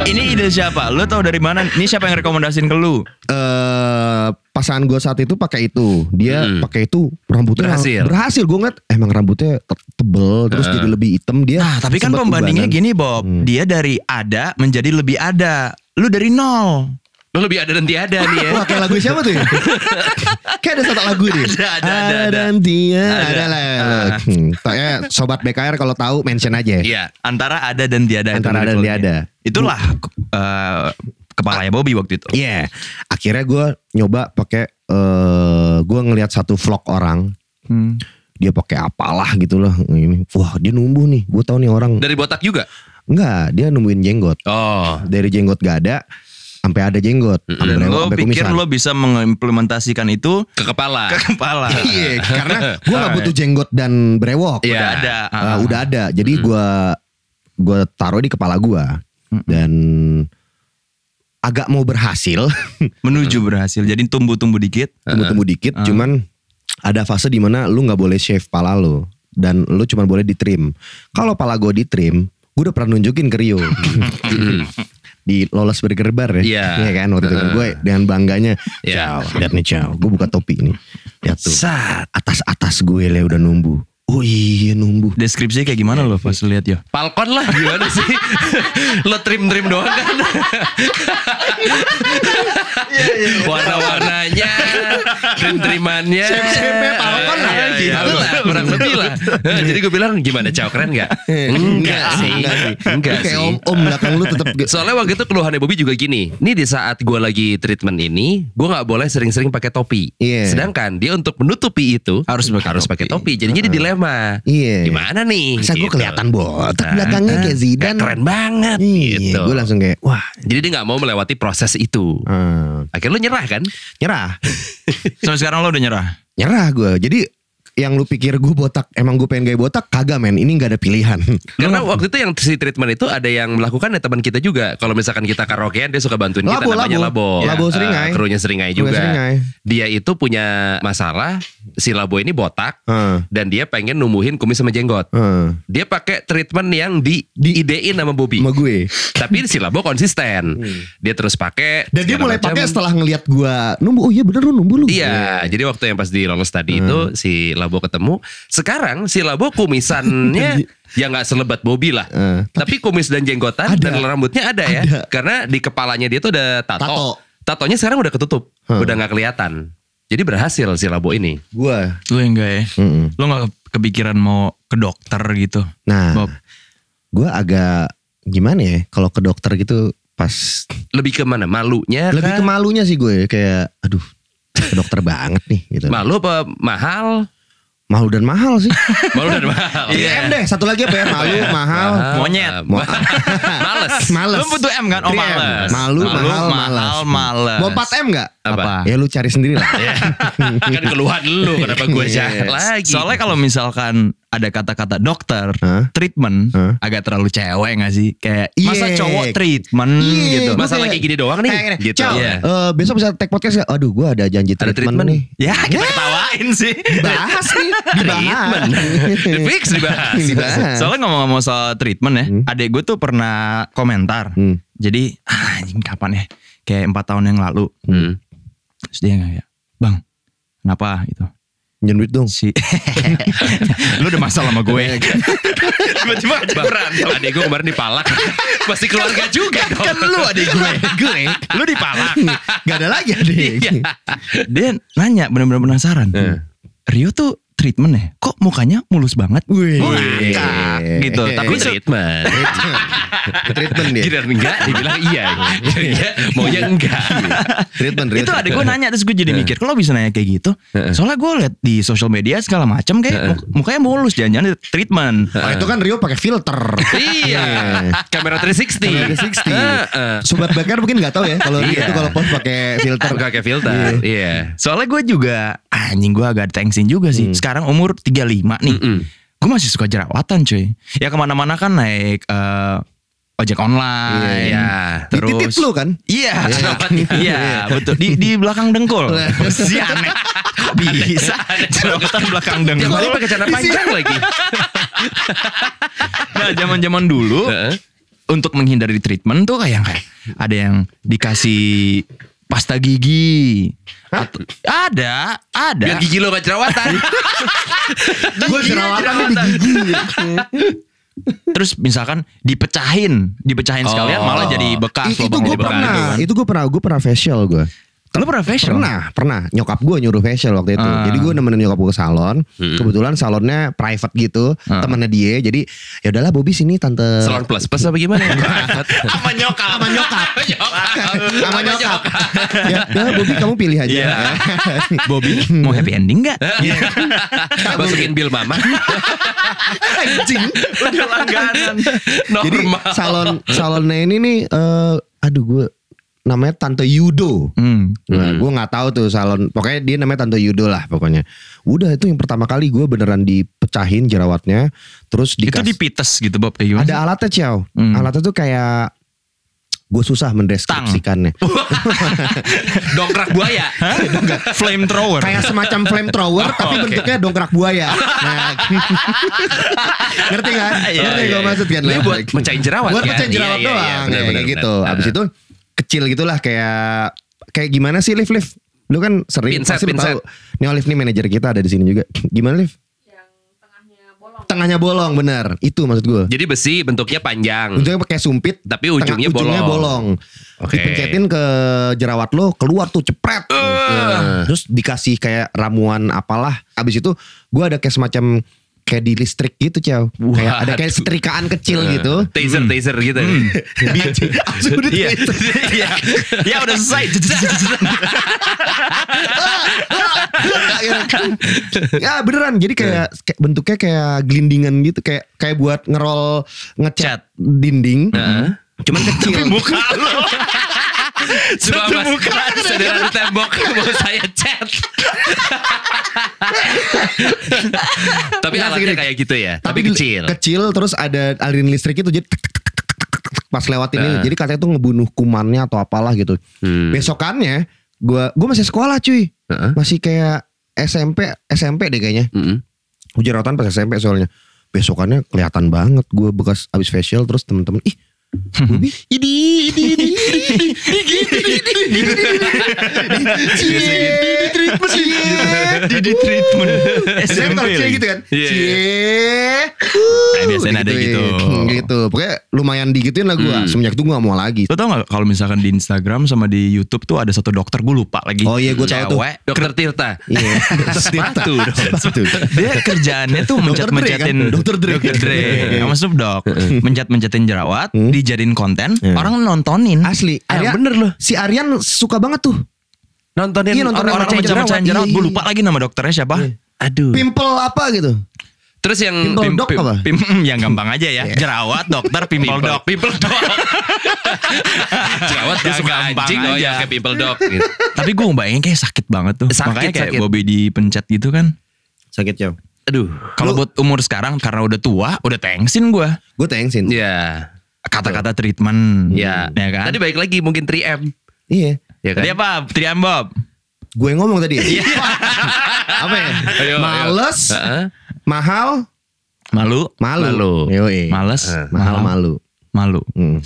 [SPEAKER 3] Ini ide siapa? Lo tau dari mana? Ini siapa yang rekomendasiin ke lu?
[SPEAKER 2] Eh pasangan gue saat itu pakai itu. Dia
[SPEAKER 4] Hmm.
[SPEAKER 2] pakai itu rambutnya
[SPEAKER 4] Berhasil.
[SPEAKER 2] Berhasil gue ngeliat "Eh, emang rambutnya te- tebel terus
[SPEAKER 3] Eh.
[SPEAKER 2] jadi lebih hitam dia.
[SPEAKER 3] Nah, tapi kan
[SPEAKER 2] sempet Hmm.
[SPEAKER 3] pembandingnya
[SPEAKER 2] ubanan.
[SPEAKER 3] gini, Bob. Dia dari ada menjadi lebih ada. Lu dari nol.
[SPEAKER 4] Lo lebih ada dan tiada nih ya.
[SPEAKER 2] Wah kayak lagu siapa tuh ya? kayak ada satu lagu deh.
[SPEAKER 3] Ada, ada, ada, ada.
[SPEAKER 2] dan dia. Ada,
[SPEAKER 3] Ada.
[SPEAKER 2] lah.
[SPEAKER 3] Ah.
[SPEAKER 2] Hmm, tak- ya, Sobat BKR kalau tahu mention aja.
[SPEAKER 4] Iya.
[SPEAKER 3] Ya, Antara ada dan tiada. itu
[SPEAKER 2] Antara ada dan
[SPEAKER 3] levelnya.
[SPEAKER 2] tiada.
[SPEAKER 3] Itulah eh, kepalanya Bobby waktu itu.
[SPEAKER 2] Iya. Akhirnya gue nyoba pakai eh gue ngelihat satu vlog orang
[SPEAKER 3] Hmm.
[SPEAKER 2] dia pakai apalah gitu loh ini wah dia numbuh nih gue tahu nih orang
[SPEAKER 4] Dari botak juga.
[SPEAKER 2] enggak dia numbuhin jenggot
[SPEAKER 4] Oh.
[SPEAKER 2] dari jenggot gak ada sampai ada jenggot sampai
[SPEAKER 3] Dan
[SPEAKER 2] brewok,
[SPEAKER 3] lo
[SPEAKER 2] sampai
[SPEAKER 3] pikir
[SPEAKER 2] kumisan.
[SPEAKER 3] lo bisa mengimplementasikan itu
[SPEAKER 4] Ke kepala.
[SPEAKER 3] ke kepala.
[SPEAKER 2] iya karena gue gak butuh jenggot dan brewok
[SPEAKER 4] Iya.
[SPEAKER 3] Udah ada. Ah,
[SPEAKER 2] Eh, udah ada jadi gue gue taruh di kepala gue dan agak mau berhasil
[SPEAKER 3] Menuju berhasil. Jadi tumbuh-tumbuh dikit.
[SPEAKER 2] tumbuh-tumbuh dikit
[SPEAKER 3] Ah.
[SPEAKER 2] cuman ada fase dimana lu nggak boleh shave pala lu dan lu cuman boleh di trim kalau pala gue di trim gue udah pernah nunjukin ke Rio
[SPEAKER 4] Hmm.
[SPEAKER 2] di Lolos Burger Bar ya
[SPEAKER 4] Iya.
[SPEAKER 2] Iya kan waktu itu gue dengan bangganya ciao
[SPEAKER 4] Iya.
[SPEAKER 2] lihat nih ciao gue buka topi ini lihat tuh
[SPEAKER 4] Sat.
[SPEAKER 2] atas atas gue le udah numbu oh iya numbu
[SPEAKER 3] Deskripsinya kayak gimana lo pas lihat ya?
[SPEAKER 4] Palkon lah gimana sih? Lo trim-trim doang kan?
[SPEAKER 2] Iya,
[SPEAKER 4] Warna-warnanya, trim-trimannya.
[SPEAKER 2] Shape-shape-nya Falcon lah,
[SPEAKER 4] Iya, iya,
[SPEAKER 2] gitu
[SPEAKER 4] lah, kurang lebih lah. Eh, Jadi gue bilang gimana Cao keren gak?
[SPEAKER 2] Eh,
[SPEAKER 4] Enggak sih. Enggak
[SPEAKER 2] Lu kayak
[SPEAKER 4] sih.
[SPEAKER 2] om om belakang lu tetap
[SPEAKER 4] Soalnya waktu itu keluhannya Bobby juga gini. Ini di saat gue lagi treatment ini, gue nggak boleh sering-sering pakai topi.
[SPEAKER 2] Iya.
[SPEAKER 4] Sedangkan dia untuk menutupi itu
[SPEAKER 3] Harus pakai
[SPEAKER 4] harus pakai
[SPEAKER 3] topi.
[SPEAKER 4] topi. Jadinya dia dilema.
[SPEAKER 2] Iya.
[SPEAKER 4] Gimana nih?
[SPEAKER 2] masa gue
[SPEAKER 4] Gitu.
[SPEAKER 2] kelihatan botak
[SPEAKER 4] Nah,
[SPEAKER 2] belakangnya kayak
[SPEAKER 4] Kayak
[SPEAKER 2] Zidane
[SPEAKER 4] keren banget
[SPEAKER 2] iya
[SPEAKER 4] gitu.
[SPEAKER 2] gue langsung kayak wah
[SPEAKER 4] Jadi dia nggak mau melewati proses itu.
[SPEAKER 2] eh,
[SPEAKER 4] Akhirnya lu nyerah kan?
[SPEAKER 2] nyerah
[SPEAKER 3] Sampai sekarang lo udah nyerah.
[SPEAKER 2] nyerah gue jadi yang lu pikir gue botak emang gue pengen gaya botak kagak men ini nggak ada pilihan
[SPEAKER 4] Karena waktu itu yang si treatment itu ada yang melakukan ya teman kita juga. Kalau misalkan kita karaokean dia suka bantuin kita
[SPEAKER 2] Labo,
[SPEAKER 4] namanya
[SPEAKER 2] Labo.
[SPEAKER 4] Labo.
[SPEAKER 2] Labo
[SPEAKER 4] Eh,
[SPEAKER 2] Iya. Seringai.
[SPEAKER 4] krunya Seringai
[SPEAKER 2] Krunya
[SPEAKER 4] juga.
[SPEAKER 2] Seringai.
[SPEAKER 4] Dia itu punya masalah si Labo ini botak
[SPEAKER 2] Heeh.
[SPEAKER 4] dan dia pengen numbuhin kumis sama jenggot.
[SPEAKER 2] Heeh.
[SPEAKER 4] Dia pakai treatment yang di diidein sama Bobby.
[SPEAKER 2] ah. sama gue
[SPEAKER 4] Tapi si Labo konsisten. Dia terus pakai
[SPEAKER 2] dan dia
[SPEAKER 4] segala
[SPEAKER 2] mulai
[SPEAKER 4] macam.
[SPEAKER 2] pakai setelah ngelihat gue numbu oh iya bener lu numbu lu
[SPEAKER 4] Iya, jadi waktu yang pas di lolos tadi
[SPEAKER 2] Hmm.
[SPEAKER 4] itu si Labo ketemu. Sekarang si Labo kumisannya ya nggak selebat Bobby lah.
[SPEAKER 2] Iya. Eh,
[SPEAKER 4] tapi, kumis dan jenggotan
[SPEAKER 2] Ada.
[SPEAKER 4] dan rambutnya ada ya.
[SPEAKER 2] Ada.
[SPEAKER 4] Karena di kepalanya dia tuh ada tato.
[SPEAKER 2] Tato.
[SPEAKER 4] Tatonya sekarang udah ketutup,
[SPEAKER 2] Hmm.
[SPEAKER 4] udah nggak kelihatan. Jadi berhasil si Labo ini.
[SPEAKER 2] gue
[SPEAKER 3] Lo enggak ya?
[SPEAKER 2] Mm-mm.
[SPEAKER 3] Lo nggak kepikiran mau ke dokter gitu?
[SPEAKER 2] nah
[SPEAKER 3] Bob.
[SPEAKER 2] gue agak gimana ya kalau ke dokter gitu pas
[SPEAKER 4] Lebih ke mana? Malunya
[SPEAKER 2] lebih
[SPEAKER 4] kah?
[SPEAKER 2] ke malunya sih gue kayak aduh ke dokter banget nih gitu
[SPEAKER 4] malu apa mahal?
[SPEAKER 2] malu dan mahal sih
[SPEAKER 4] Malu dan mahal.
[SPEAKER 2] DM deh satu lagi apa ya malu mahal
[SPEAKER 3] Monyet.
[SPEAKER 4] Ah,
[SPEAKER 2] Mau-
[SPEAKER 4] males.
[SPEAKER 2] males
[SPEAKER 3] Lo butuh M kan? Oh
[SPEAKER 2] Iya.
[SPEAKER 3] males.
[SPEAKER 2] malu,
[SPEAKER 3] Malu,
[SPEAKER 2] mahal
[SPEAKER 3] mahal,
[SPEAKER 2] males
[SPEAKER 3] males.
[SPEAKER 2] mau 4 M gak?
[SPEAKER 4] Apa?
[SPEAKER 2] ya lu cari sendiri lah
[SPEAKER 4] kan keluhan lu kenapa gue jahat lagi?
[SPEAKER 3] Soalnya kalau misalkan ada kata-kata dokter,
[SPEAKER 2] Hah?
[SPEAKER 3] treatment,
[SPEAKER 2] Hah?
[SPEAKER 3] agak terlalu cewek gak sih? Kayak
[SPEAKER 2] Iya.
[SPEAKER 3] masa cowok treatment
[SPEAKER 2] Iya,
[SPEAKER 3] gitu.
[SPEAKER 2] gua
[SPEAKER 4] Masa
[SPEAKER 2] kayak-
[SPEAKER 4] lagi gini doang nih?
[SPEAKER 2] Kayak gini,
[SPEAKER 4] Gitu.
[SPEAKER 2] "Ciao,
[SPEAKER 3] Iya.
[SPEAKER 2] eh, besok bisa take podcast gak? Aduh gue ada janji
[SPEAKER 4] Ada
[SPEAKER 2] treatment,
[SPEAKER 4] treatment.
[SPEAKER 2] nih
[SPEAKER 3] Ya kita ketawain sih.
[SPEAKER 2] Dibahas nih Dibahas
[SPEAKER 4] Fix dibahas.
[SPEAKER 2] Dibahas.
[SPEAKER 3] Soalnya ngomong-ngomong soal treatment ya, adek gue tuh pernah komentar.
[SPEAKER 2] Hmm.
[SPEAKER 3] Jadi ah, anjing kapan ya? Kayak empat tahun yang lalu.
[SPEAKER 4] Hmm.
[SPEAKER 3] Terus dia kayak, bang, kenapa gitu?
[SPEAKER 2] Jangan duit dong
[SPEAKER 3] Si, lu udah masalah sama gue. Tiba-tiba aja
[SPEAKER 4] Bang, adek gue kemarin dipalak. Pasti keluarga juga dong.
[SPEAKER 3] Kan lu adik gue. gue. Lu dipalak.
[SPEAKER 2] Gak ada lagi adik
[SPEAKER 4] Iya.
[SPEAKER 3] Dia nanya benar-benar penasaran.
[SPEAKER 2] Hmm.
[SPEAKER 3] Rio tuh treatment ya? Kok mukanya mulus banget?
[SPEAKER 2] Wih.
[SPEAKER 3] Oh, ngakak gitu.
[SPEAKER 2] Iya.
[SPEAKER 3] Tapi
[SPEAKER 4] Tapi
[SPEAKER 3] se-
[SPEAKER 4] treatment.
[SPEAKER 2] Treatment dia
[SPEAKER 4] Giliran enggak, dibilang iya. Iya, maunya enggak.
[SPEAKER 2] Treatment Hmm. Rit.
[SPEAKER 3] itu ada gue nanya terus gue jadi mikir kalau bisa nanya kayak gitu soalnya gue liat di sosial media segala macam
[SPEAKER 2] Hmm.
[SPEAKER 3] kayak muk- mukanya mulus jangan-jangan itu treatment
[SPEAKER 2] Oh, itu kan Rio pakai filter
[SPEAKER 4] Iya. Kamera 360.
[SPEAKER 2] Kamera 360.
[SPEAKER 4] Heeh.
[SPEAKER 2] Sobat bakar mungkin gak tahu ya Kalau Rio itu
[SPEAKER 4] Iya.
[SPEAKER 2] kalau post pakai filter
[SPEAKER 4] Enggak kayak filter. Iya.
[SPEAKER 3] soalnya gue juga anjing gue agak thanksin juga
[SPEAKER 4] Hmm.
[SPEAKER 3] sih sekarang umur 35 nih
[SPEAKER 4] Mm-mm.
[SPEAKER 3] gue masih suka jerawatan cuy ya kemana-mana kan naik eh, ojek online
[SPEAKER 4] Iya.
[SPEAKER 3] terus
[SPEAKER 2] Dititit lu kan?
[SPEAKER 3] Iya,
[SPEAKER 4] Jerawat.
[SPEAKER 3] iya, betul. Di di belakang dengkul.
[SPEAKER 4] Iya.
[SPEAKER 3] Si aneh. Kok bisa? Jerawatan belakang
[SPEAKER 4] Tiap
[SPEAKER 3] dengkul.
[SPEAKER 4] hari pakai celana panjang lagi.
[SPEAKER 3] Nah, zaman-zaman dulu
[SPEAKER 4] Heeh.
[SPEAKER 3] untuk menghindari treatment tuh kayak kayak ada yang dikasih pasta gigi. Atau- ada, ada.
[SPEAKER 4] Biar
[SPEAKER 3] Iya,
[SPEAKER 4] gigi lo gak jerawatan.
[SPEAKER 2] Gue jerawatan di gigi
[SPEAKER 3] Terus misalkan dipecahin, dipecahin
[SPEAKER 4] Oh.
[SPEAKER 3] sekalian malah jadi
[SPEAKER 2] I-
[SPEAKER 3] bekas
[SPEAKER 2] itu
[SPEAKER 3] lubang
[SPEAKER 2] gue
[SPEAKER 3] jadi bekas
[SPEAKER 2] pernah,
[SPEAKER 3] gitu kan.
[SPEAKER 2] itu gue pernah, gue pernah facial gue.
[SPEAKER 3] Lu pernah facial?
[SPEAKER 2] Pernah, pernah. Nyokap gue nyuruh facial waktu itu.
[SPEAKER 3] Ah.
[SPEAKER 2] Jadi gue nemenin nyokap gue ke salon.
[SPEAKER 4] Hmm.
[SPEAKER 2] Kebetulan salonnya private gitu,
[SPEAKER 3] Ah.
[SPEAKER 2] temennya dia. Jadi ya udahlah Bobby sini tante.
[SPEAKER 4] Salon plus plus apa gimana?
[SPEAKER 3] Sama nyokap, sama nyokap.
[SPEAKER 2] sama nyokap. ya, ya Bobby kamu pilih aja. Ya.
[SPEAKER 3] Iya. Bobby mau happy ending Iya. gak?
[SPEAKER 2] Iya.
[SPEAKER 4] Masukin bil mama.
[SPEAKER 2] Anjing.
[SPEAKER 3] Udah langganan.
[SPEAKER 2] Jadi
[SPEAKER 4] Normal.
[SPEAKER 2] salon salonnya ini nih, eh, aduh gue namanya Tante Yudo.
[SPEAKER 3] Hmm.
[SPEAKER 2] Nah, gue nggak tahu tuh salon. Pokoknya dia namanya Tante Yudo lah pokoknya. Udah itu yang pertama kali gue beneran dipecahin jerawatnya, terus
[SPEAKER 3] Itu
[SPEAKER 2] dikas-
[SPEAKER 3] dipites gitu Bob kayak gimana?
[SPEAKER 2] ada alatnya ciao.
[SPEAKER 3] Hmm.
[SPEAKER 2] Alatnya tuh kayak gue susah mendeskripsikannya.
[SPEAKER 4] Dongkrak buaya.
[SPEAKER 3] Hah? Flame thrower.
[SPEAKER 2] Kayak semacam flamethrower tapi
[SPEAKER 4] Oh, oke.
[SPEAKER 2] bentuknya dongkrak buaya. Nah, ngerti kan?
[SPEAKER 4] Iya,
[SPEAKER 2] ngerti
[SPEAKER 4] iya,
[SPEAKER 2] gue
[SPEAKER 4] iya.
[SPEAKER 2] maksud kan?
[SPEAKER 4] Ini buat mecahin jerawat
[SPEAKER 2] Buat
[SPEAKER 4] kan?
[SPEAKER 2] mecahin
[SPEAKER 4] Iya,
[SPEAKER 2] jerawat
[SPEAKER 4] iya, iya,
[SPEAKER 2] doang.
[SPEAKER 4] benar,
[SPEAKER 2] ya,
[SPEAKER 4] benar,
[SPEAKER 2] kayak
[SPEAKER 4] benar.
[SPEAKER 2] gitu. Abis
[SPEAKER 4] Ah.
[SPEAKER 2] itu kecil gitulah kayak kayak gimana sih Liv Liv? Lu kan sering
[SPEAKER 4] Pinset,
[SPEAKER 2] pasti lu
[SPEAKER 4] pinset.
[SPEAKER 2] tahu. Nih Olive nih manajer kita ada di sini juga. Gimana Liv?
[SPEAKER 1] yang tengahnya bolong.
[SPEAKER 2] Tengahnya bolong bener. Itu maksud gue.
[SPEAKER 4] Jadi besi bentuknya panjang.
[SPEAKER 2] Ujungnya pakai sumpit,
[SPEAKER 4] Hmm. Tapi ujungnya
[SPEAKER 2] tengah- ujungnya bolong.
[SPEAKER 4] bolong. Oke. Eh.
[SPEAKER 2] Dipencetin ke jerawat lo, keluar tuh cepret. Nah, Terus dikasih kayak ramuan apalah. Abis itu gue ada kayak semacam kayak di listrik gitu ciao. Kayak ada kayak
[SPEAKER 4] Waduh. Eh.
[SPEAKER 2] setrikaan kecil gitu.
[SPEAKER 4] Taser taser gitu.
[SPEAKER 2] Langsung udah
[SPEAKER 3] Iya.
[SPEAKER 2] gitu.
[SPEAKER 3] Iya. Ya udah selesai.
[SPEAKER 2] ya beneran jadi kayak,
[SPEAKER 4] Eh.
[SPEAKER 2] kayak bentuknya kayak gelindingan gitu kayak kayak buat ngerol
[SPEAKER 3] Cat.
[SPEAKER 2] ngecat dinding
[SPEAKER 4] Heeh.
[SPEAKER 2] cuman kecil
[SPEAKER 3] Muka lo.
[SPEAKER 4] Coba
[SPEAKER 3] Satu
[SPEAKER 4] mas,
[SPEAKER 3] muka.
[SPEAKER 4] saudara di tembok mau saya chat. Tapi
[SPEAKER 2] Nggak,
[SPEAKER 4] alatnya
[SPEAKER 2] segini.
[SPEAKER 4] kayak gitu ya. Tapi,
[SPEAKER 2] di-
[SPEAKER 4] kecil.
[SPEAKER 2] kecil terus ada aliran listrik itu jadi tek, tek, tek, tek, tek, tek, pas lewat ini
[SPEAKER 4] Ah.
[SPEAKER 2] jadi katanya tuh ngebunuh kumannya atau apalah gitu
[SPEAKER 4] Hmm.
[SPEAKER 2] besokannya gua gua masih sekolah cuy
[SPEAKER 4] Heeh.
[SPEAKER 2] masih kayak SMP SMP deh kayaknya
[SPEAKER 4] Mm-mm.
[SPEAKER 2] jerawatan pas SMP soalnya besokannya kelihatan banget gua bekas abis facial terus temen-temen ih Bobi, ini, ini, ini, ini,
[SPEAKER 3] Jadi treatment. SMP
[SPEAKER 2] Biasanya
[SPEAKER 3] lagi.
[SPEAKER 2] gitu kan
[SPEAKER 4] Iya, iya.
[SPEAKER 2] Cie
[SPEAKER 3] Nah, biasanya ada gitu.
[SPEAKER 2] Gitu Pokoknya lumayan digituin lah gue Semenjak itu gue gak mau lagi
[SPEAKER 3] Lo tau gak kalau misalkan di Instagram sama di Youtube tuh ada satu dokter gue lupa lagi
[SPEAKER 2] Oh iya, gua tahu tuh.
[SPEAKER 3] Cewek.
[SPEAKER 4] Dokter Tirta.
[SPEAKER 2] Iya
[SPEAKER 4] Sepatu dong.
[SPEAKER 2] Sepatu
[SPEAKER 3] Dia kerjaannya tuh
[SPEAKER 2] Dr. Dre
[SPEAKER 3] mencet-mencetin
[SPEAKER 2] kan? Dr. Dre. iya,
[SPEAKER 3] Dr. Dre Sama Snoop Dogg Mencet-mencetin jerawat
[SPEAKER 2] Hmm.
[SPEAKER 3] Dijadiin konten
[SPEAKER 2] Iya.
[SPEAKER 3] Orang nontonin
[SPEAKER 2] Asli
[SPEAKER 4] Ah,
[SPEAKER 2] Arya-
[SPEAKER 4] bener loh.
[SPEAKER 2] Si Aryan suka banget tuh
[SPEAKER 4] Nontonin
[SPEAKER 2] Iya, nontonin mencet-
[SPEAKER 4] orang-orang macam-
[SPEAKER 3] Orang mencet-mencetin
[SPEAKER 2] jerawat.
[SPEAKER 3] jerawat
[SPEAKER 2] Iya,
[SPEAKER 3] Gue
[SPEAKER 2] iya.
[SPEAKER 3] lupa lagi nama dokternya siapa
[SPEAKER 4] Aduh.
[SPEAKER 2] Pimple apa gitu
[SPEAKER 4] Terus yang
[SPEAKER 2] Pimple
[SPEAKER 4] pim-
[SPEAKER 2] dog
[SPEAKER 4] pim-
[SPEAKER 2] apa?
[SPEAKER 3] Pim, mm, yang gampang aja ya Jerawat, dokter, pimple dog
[SPEAKER 4] Pimple dog. Jerawat tuh
[SPEAKER 3] Yang
[SPEAKER 4] suka
[SPEAKER 3] gampang
[SPEAKER 4] anjing oh
[SPEAKER 3] aja.
[SPEAKER 4] ya kayak pimple dog gitu.
[SPEAKER 3] Tapi gue ngebayangin kayak sakit banget tuh
[SPEAKER 4] Sakit,
[SPEAKER 3] Makanya kayak
[SPEAKER 4] sakit.
[SPEAKER 3] Bobby dipencet gitu kan
[SPEAKER 2] Sakit jauh
[SPEAKER 4] Aduh.
[SPEAKER 3] Kalau buat umur sekarang karena udah tua Udah tengsin gue
[SPEAKER 2] Gue thanksin
[SPEAKER 4] Ya.
[SPEAKER 3] Kata-kata treatment
[SPEAKER 4] Ya.
[SPEAKER 3] ya kan
[SPEAKER 4] Tadi baik lagi mungkin 3M.
[SPEAKER 2] Iya
[SPEAKER 4] Ya kan?
[SPEAKER 3] Tadi apa? Trian Bob
[SPEAKER 2] Gue yang ngomong tadi Apa ya
[SPEAKER 4] Ayo, ayo.
[SPEAKER 2] Males
[SPEAKER 4] Heeh.
[SPEAKER 2] Mahal
[SPEAKER 3] Malu
[SPEAKER 2] Malu
[SPEAKER 4] Malu.
[SPEAKER 2] Yoi.
[SPEAKER 3] Males
[SPEAKER 4] Eh,
[SPEAKER 2] Mahal malu
[SPEAKER 3] Malu
[SPEAKER 2] Hmm.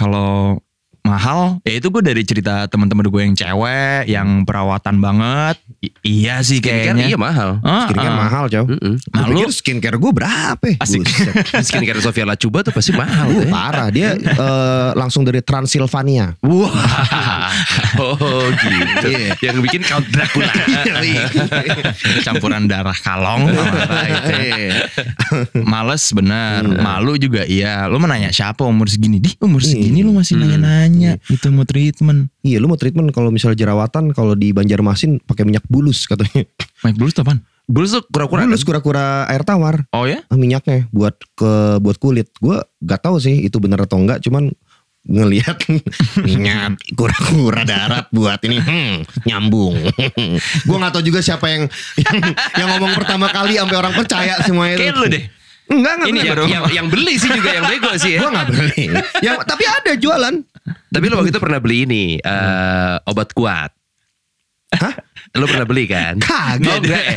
[SPEAKER 3] kalau mahal ya itu gue dari cerita teman-teman gue yang cewek yang perawatan banget I- iya sih
[SPEAKER 4] Skincare
[SPEAKER 3] kayaknya
[SPEAKER 4] iya mahal.
[SPEAKER 3] Ah,
[SPEAKER 2] Skincare
[SPEAKER 3] ah.
[SPEAKER 2] mahal jauh
[SPEAKER 4] Mm-mm.
[SPEAKER 3] Malu.
[SPEAKER 2] Malu skincare gue berapa ya?
[SPEAKER 3] Asik.
[SPEAKER 2] Buset.
[SPEAKER 4] Skincare Sofia Lacuba tuh pasti mahal.
[SPEAKER 2] Uh,
[SPEAKER 4] ya.
[SPEAKER 2] parah dia eh, langsung dari Transilvania.
[SPEAKER 4] Wah, oh gitu. Yang bikin Count Dracula.
[SPEAKER 3] campuran darah kalong marah gitu ya. males bener malu juga iya lu mau nanya siapa umur segini di umur segini lu masih nanya-nanya itu mau treatment
[SPEAKER 2] Iya, lu mau treatment kalau misalnya jerawatan kalau di Banjarmasin pakai minyak bulus katanya.
[SPEAKER 3] Mike Bulus tuh apaan?
[SPEAKER 4] Bulus tuh kura-kura.
[SPEAKER 2] Bulus kura-kura air tawar
[SPEAKER 3] oh ya
[SPEAKER 2] ah, minyaknya buat ke buat kulit. Gua gak tahu sih itu bener atau enggak, cuman ngelihat minyak kura-kura darat buat ini hmm, nyambung. Gua nggak tahu juga siapa yang, yang yang ngomong pertama kali sampai orang percaya semua itu.
[SPEAKER 3] kayak lu deh
[SPEAKER 2] Enggak enggak.
[SPEAKER 4] Ini
[SPEAKER 2] bener.
[SPEAKER 4] yang,
[SPEAKER 3] baru.
[SPEAKER 4] yang, yang beli sih juga yang bego sih
[SPEAKER 2] Gua
[SPEAKER 4] ya.
[SPEAKER 2] nggak beli. ya, tapi ada jualan.
[SPEAKER 4] Tapi lu waktu itu pernah beli ini eh, obat kuat.
[SPEAKER 2] Hah?
[SPEAKER 4] Lu pernah beli kan? Oh,
[SPEAKER 2] Kagak.
[SPEAKER 4] enggak ya?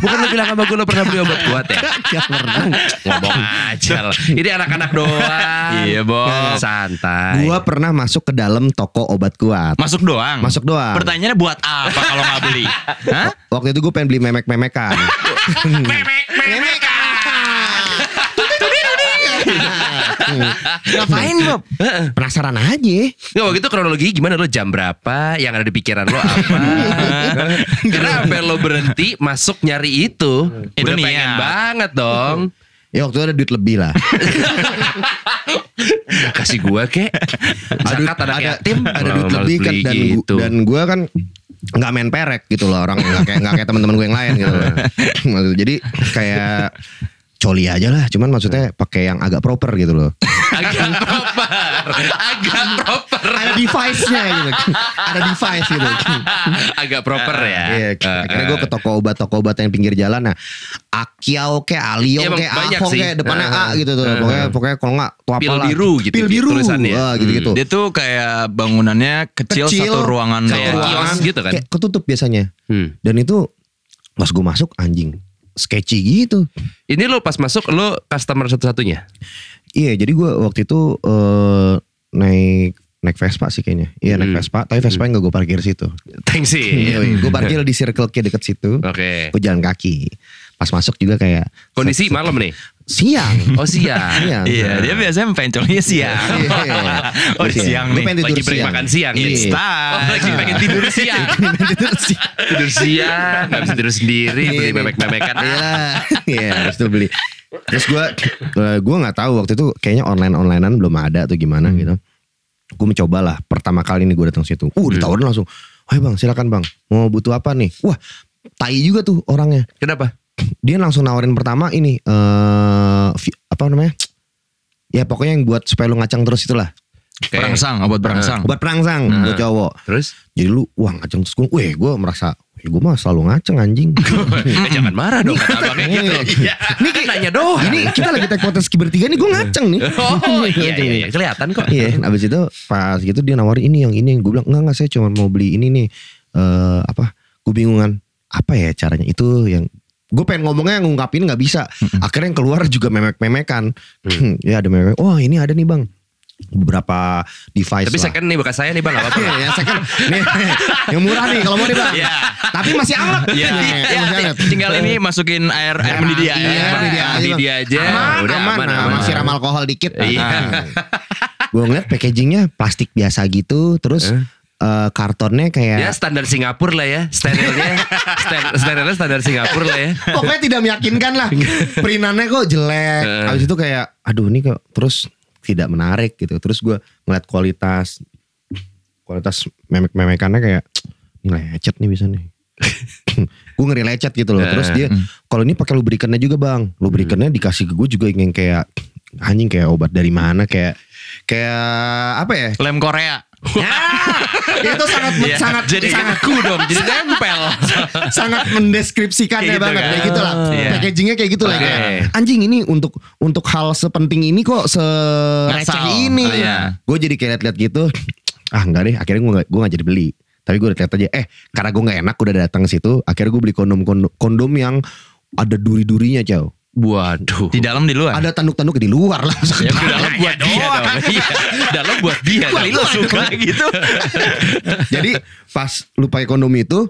[SPEAKER 4] Bukan lu bilang sama gue lu pernah beli obat kuat ya?
[SPEAKER 2] Kagak pernah.
[SPEAKER 4] Ngomong aja lah. Ini anak-anak doang.
[SPEAKER 3] Iya, Bob.
[SPEAKER 4] Santai.
[SPEAKER 2] Gua pernah masuk ke dalam toko obat kuat.
[SPEAKER 3] masuk doang
[SPEAKER 2] Masuk doang.
[SPEAKER 3] pertanyaannya buat apa kalau nggak beli Hah?
[SPEAKER 2] Waktu itu gue pengen beli memek-memekan.
[SPEAKER 4] Memek, memek.
[SPEAKER 2] Nah, Ngapain Bob? hmm. Penasaran aja.
[SPEAKER 4] Nggak waktu itu kronologi gimana lo jam berapa yang ada di pikiran lo apa karena sampai lo berhenti masuk nyari itu
[SPEAKER 3] Itu
[SPEAKER 4] udah pengen
[SPEAKER 3] niat.
[SPEAKER 4] banget dong
[SPEAKER 2] Ya waktu itu ada duit lebih lah.
[SPEAKER 4] kasih gua kek
[SPEAKER 2] Aduh,
[SPEAKER 4] zakat anak yatim
[SPEAKER 2] ada
[SPEAKER 4] Malah
[SPEAKER 2] duit lebih kan
[SPEAKER 4] beli
[SPEAKER 2] dan gu-
[SPEAKER 4] gitu.
[SPEAKER 2] dan gue kan nggak main perek gitu loh orang nggak kayak nggak kayak teman-teman gue yang lain gitu loh. Maksud- jadi kayak coli aja lah cuman maksudnya pakai yang agak proper gitu loh
[SPEAKER 4] agak proper agak proper
[SPEAKER 2] ada device-nya gitu ada device gitu
[SPEAKER 4] agak proper ya
[SPEAKER 2] Iya,
[SPEAKER 4] Eh,
[SPEAKER 2] akhirnya
[SPEAKER 4] eh.
[SPEAKER 2] gue ke toko obat toko obat yang pinggir jalan nah Akiau kayak Alio
[SPEAKER 4] Iya, emang
[SPEAKER 2] kayak
[SPEAKER 4] banyak
[SPEAKER 2] Avon
[SPEAKER 4] sih. Eh,
[SPEAKER 2] kayak depannya
[SPEAKER 4] Heeh.
[SPEAKER 2] A gitu tuh
[SPEAKER 4] Heeh.
[SPEAKER 2] pokoknya pokoknya kalau nggak tuh
[SPEAKER 4] Pil
[SPEAKER 2] apalah.
[SPEAKER 4] biru gitu
[SPEAKER 2] pil
[SPEAKER 4] di
[SPEAKER 2] biru
[SPEAKER 4] tulisannya. Hmm.
[SPEAKER 2] gitu gitu
[SPEAKER 3] Dia tuh kayak bangunannya kecil, satu ruangan
[SPEAKER 2] satu
[SPEAKER 4] Kayak
[SPEAKER 3] doang.
[SPEAKER 4] ruangan. kios gitu kan?
[SPEAKER 2] kayak ketutup biasanya
[SPEAKER 4] Hmm.
[SPEAKER 2] dan itu pas gue masuk anjing sketchy gitu
[SPEAKER 4] ini lo pas masuk lo customer satu-satunya
[SPEAKER 2] iya jadi gue waktu itu eh, naik naik Vespa sih kayaknya iya naik
[SPEAKER 4] Hmm.
[SPEAKER 2] Vespa tapi Vespa nggak gue parkir situ
[SPEAKER 4] thanks sih
[SPEAKER 2] gue parkir di Circle K deket situ
[SPEAKER 4] oke
[SPEAKER 2] gue jalan kaki pas masuk juga kayak
[SPEAKER 4] kondisi malam nih
[SPEAKER 2] siang
[SPEAKER 4] oh siang
[SPEAKER 2] siang
[SPEAKER 3] Iya, dia biasanya pencolnya siang.
[SPEAKER 2] Iya.
[SPEAKER 3] Oh, di siang
[SPEAKER 2] Gue
[SPEAKER 3] nih.
[SPEAKER 2] pengen tidur
[SPEAKER 4] lagi break
[SPEAKER 2] siang.
[SPEAKER 4] makan siang
[SPEAKER 2] Iya.
[SPEAKER 4] nih.
[SPEAKER 3] Instan.
[SPEAKER 4] Oh, lagi pengen tidur siang
[SPEAKER 2] tidur siang.
[SPEAKER 4] tidur siang nggak bisa tidur sendiri beli
[SPEAKER 2] Iya, nih.
[SPEAKER 4] bebek-bebekan
[SPEAKER 2] Iya lah. Iya, harus tuh beli. Terus gue gue nggak tahu waktu itu kayaknya online onlinean belum ada tuh gimana
[SPEAKER 4] Hmm.
[SPEAKER 2] gitu. Gue mencoba lah pertama kali nih gue datang situ.
[SPEAKER 4] Hmm.
[SPEAKER 2] Uh ditawarin langsung. Wah bang silakan bang mau butuh apa nih? Wah tai juga tuh orangnya.
[SPEAKER 4] kenapa
[SPEAKER 2] Dia langsung nawarin pertama ini eh vi- apa namanya? Ya pokoknya yang buat supaya lu ngacang terus itulah.
[SPEAKER 4] Oke.
[SPEAKER 3] Berangsang, obat berangsang.
[SPEAKER 2] Obat perangsang Iya,
[SPEAKER 4] Hmm.
[SPEAKER 2] buat cowok.
[SPEAKER 4] terus
[SPEAKER 2] Jadi lu wah ngacang terus gue. Weh gue merasa gue mah selalu ngaceng anjing.
[SPEAKER 4] Eh, jangan marah dong kata abangnya gitu
[SPEAKER 2] Iya.
[SPEAKER 4] ini kan nanya doang
[SPEAKER 2] Ini kita lagi tag podcast bertiga nih gue ngaceng nih.
[SPEAKER 4] oh iya iya, iya. kelihatan kok
[SPEAKER 2] Iya, abis itu pas gitu dia nawarin ini yang ini yang gue bilang enggak enggak saya cuma mau beli ini nih eh apa? Gue bingungan apa ya caranya itu yang gue pengen ngomongnya ngungkapin nggak bisa. Akhirnya yang keluar juga memek-memekan. ya ada memek. Oh ini ada nih bang beberapa device
[SPEAKER 4] tapi
[SPEAKER 2] lah.
[SPEAKER 4] second nih bekas saya nih bang nggak apa-apa
[SPEAKER 2] Iya, yang second. Nih, yang murah nih kalau mau nih bang.
[SPEAKER 3] Iya.
[SPEAKER 2] Tapi masih anget.
[SPEAKER 3] Iya,
[SPEAKER 2] Nah,
[SPEAKER 3] iya,
[SPEAKER 2] masih
[SPEAKER 3] iya.
[SPEAKER 2] anget.
[SPEAKER 3] tinggal ini masukin air air
[SPEAKER 4] Eh,
[SPEAKER 3] mendidih
[SPEAKER 2] Iya,
[SPEAKER 3] aja.
[SPEAKER 2] air mendidih aja.
[SPEAKER 4] Mendidih aja
[SPEAKER 2] aman,
[SPEAKER 4] Iya, udah
[SPEAKER 2] aman,
[SPEAKER 4] aman
[SPEAKER 2] aman,
[SPEAKER 4] aman
[SPEAKER 2] siram alkohol dikit.
[SPEAKER 4] Iya.
[SPEAKER 2] Gue ngeliat packagingnya plastik biasa gitu, terus
[SPEAKER 4] Eh?
[SPEAKER 2] eh, kartonnya
[SPEAKER 4] Ya
[SPEAKER 2] kayak
[SPEAKER 4] standar Singapura lah ya Sterilnya ster- Sterilnya standar Singapura lah ya
[SPEAKER 2] pokoknya tidak meyakinkan lah. Printannya kok jelek.
[SPEAKER 4] Eh.
[SPEAKER 2] Habis itu kayak, aduh ini kok terus tidak menarik gitu. Terus gue ngeliat kualitas kualitas memek-memekannya kayak ini lecet nih bisa nih. gue ngeri lecet gitu loh.
[SPEAKER 3] Eh.
[SPEAKER 2] Terus dia kalau ini pakai lubrikannya juga bang. Lubrikannya
[SPEAKER 3] Hmm.
[SPEAKER 2] dikasih ke gue juga yang kayak anjing kayak obat dari mana kayak kayak apa ya?
[SPEAKER 3] Lem Korea.
[SPEAKER 4] Iya.
[SPEAKER 2] Ya, itu sangat
[SPEAKER 3] Iya.
[SPEAKER 2] sangat
[SPEAKER 3] jadi
[SPEAKER 2] sangat
[SPEAKER 3] kaku dong, jadi nempel.
[SPEAKER 2] sangat mendeskripsikannya
[SPEAKER 3] Kayak gitu
[SPEAKER 2] banget
[SPEAKER 3] kan?
[SPEAKER 2] kayak gitu lah.
[SPEAKER 3] Iya.
[SPEAKER 2] Packagingnya kayak gitu lah
[SPEAKER 4] Oke.
[SPEAKER 2] kayak anjing ini untuk untuk hal sepenting ini kok sereceh
[SPEAKER 3] Ngasal.
[SPEAKER 2] ini.
[SPEAKER 3] Oh, iya.
[SPEAKER 2] Gue jadi kayak liat-liat gitu. Ah enggak deh, akhirnya gue gak, gue gak jadi beli. Tapi gue udah liat aja, eh karena gue gak enak udah datang ke situ. Akhirnya gue beli kondom kondom, kondom yang ada duri-durinya jauh.
[SPEAKER 4] Waduh
[SPEAKER 3] Di dalam di luar.
[SPEAKER 2] Ada tanduk-tanduk di luar lah.
[SPEAKER 4] Ya
[SPEAKER 3] Iya,
[SPEAKER 4] dalam buat dia dong Iya Dalam buat dia
[SPEAKER 3] Wah, lu suka gitu.
[SPEAKER 2] Jadi pas lu pakai kondom itu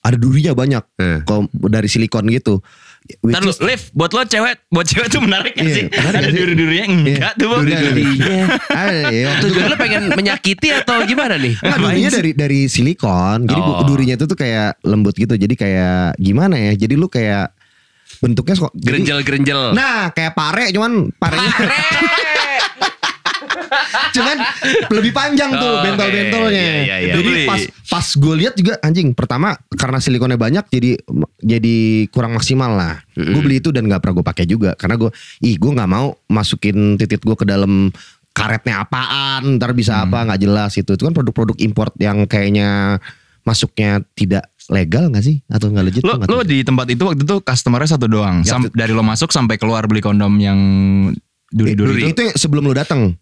[SPEAKER 2] ada durinya banyak.
[SPEAKER 4] Eh.
[SPEAKER 2] Kom- dari silikon gitu. Which
[SPEAKER 3] Ntar lu,
[SPEAKER 2] is-
[SPEAKER 3] Liv, buat lo cewek, buat cewek tuh menarik gak
[SPEAKER 2] Iya,
[SPEAKER 3] sih?
[SPEAKER 2] menarik
[SPEAKER 3] Ada
[SPEAKER 2] gak sih? Iya.
[SPEAKER 3] duri-durinya enggak tuh. Bang.
[SPEAKER 2] Duri-durinya. Ada, ya, waktu itu
[SPEAKER 4] Tujuan lu pengen menyakiti atau gimana nih?
[SPEAKER 2] Nah, durinya dari dari silikon. Jadi bu-
[SPEAKER 4] Oh.
[SPEAKER 2] durinya itu tuh kayak lembut gitu. Jadi kayak gimana ya? Jadi lu kayak bentuknya kok jadi-
[SPEAKER 4] Gerenjel-gerenjel
[SPEAKER 2] Nah, kayak pare cuman parenya cuman lebih panjang tuh
[SPEAKER 3] Oh,
[SPEAKER 4] Oke,
[SPEAKER 2] bentol-bentolnya.
[SPEAKER 4] iya, iya, iya.
[SPEAKER 2] Jadi
[SPEAKER 3] Beli.
[SPEAKER 2] pas pas gue lihat juga anjing pertama karena silikonnya banyak jadi jadi kurang maksimal lah. Gue beli itu dan nggak pernah gue pakai juga karena gue ih gue nggak mau masukin titik gue ke dalam karetnya apaan ntar
[SPEAKER 3] Hmm.
[SPEAKER 2] bisa apa nggak jelas itu itu kan produk-produk import yang kayaknya masuknya tidak legal nggak sih atau nggak legit
[SPEAKER 3] Lo,
[SPEAKER 2] gua nggak
[SPEAKER 3] lo
[SPEAKER 2] tahu.
[SPEAKER 3] di tempat itu waktu itu customernya satu doang.
[SPEAKER 2] Ya,
[SPEAKER 3] Sam- dari lo masuk sampai keluar beli kondom yang
[SPEAKER 2] Eh, itu,
[SPEAKER 3] duri-duri itu.
[SPEAKER 2] yang sebelum lu datang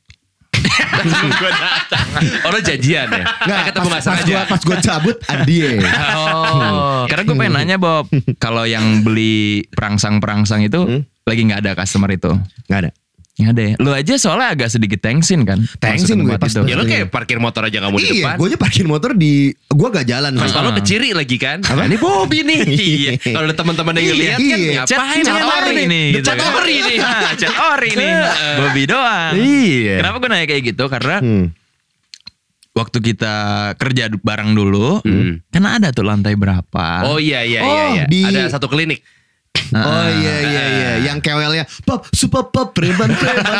[SPEAKER 4] Orang janjian ya? Nggak,
[SPEAKER 2] nggak
[SPEAKER 4] ketemu
[SPEAKER 2] pas, pas
[SPEAKER 4] gak sengaja?
[SPEAKER 2] gue pas gue cabut ada dia
[SPEAKER 4] Oh
[SPEAKER 3] Karena gue pengen nanya Bob,
[SPEAKER 2] Hmm?
[SPEAKER 3] kalau yang beli perangsang-perangsang itu lagi nggak ada customer itu.
[SPEAKER 2] nggak ada
[SPEAKER 3] Nggak ada ya. Lu aja soalnya agak sedikit tensin kan.
[SPEAKER 2] Tensin
[SPEAKER 3] masuk
[SPEAKER 2] gue
[SPEAKER 3] tempat
[SPEAKER 2] pas
[SPEAKER 3] itu.
[SPEAKER 4] Ya lu kayak parkir motor aja gak mau di
[SPEAKER 2] Iya,
[SPEAKER 4] depan.
[SPEAKER 2] gue aja parkir motor di gue gak jalan.
[SPEAKER 4] Terus kalau keciri lagi kan.
[SPEAKER 2] Apa?
[SPEAKER 4] Ini Bobby nih.
[SPEAKER 2] Iya.
[SPEAKER 4] Kalau ada teman-teman yang
[SPEAKER 2] Iya,
[SPEAKER 4] lihat kan
[SPEAKER 2] iya.
[SPEAKER 3] Chat,
[SPEAKER 4] ngapain
[SPEAKER 3] chat
[SPEAKER 4] orang
[SPEAKER 3] ori
[SPEAKER 4] ini?
[SPEAKER 3] nih.
[SPEAKER 4] The chat
[SPEAKER 3] kan.
[SPEAKER 4] ori nih.
[SPEAKER 3] Ah, chat ori nih. Nah, Bobby doang.
[SPEAKER 4] Iya.
[SPEAKER 3] Kenapa gue nanya kayak gitu? Karena
[SPEAKER 2] Hmm.
[SPEAKER 3] waktu kita kerja du- bareng dulu,
[SPEAKER 4] Hmm.
[SPEAKER 3] karena ada tuh lantai berapa.
[SPEAKER 4] Oh iya iya
[SPEAKER 2] Oh,
[SPEAKER 4] iya. iya.
[SPEAKER 2] di-
[SPEAKER 4] Ada satu klinik. Ah.
[SPEAKER 2] Oh iya iya iya, yang kewelnya pop super pop preman preman.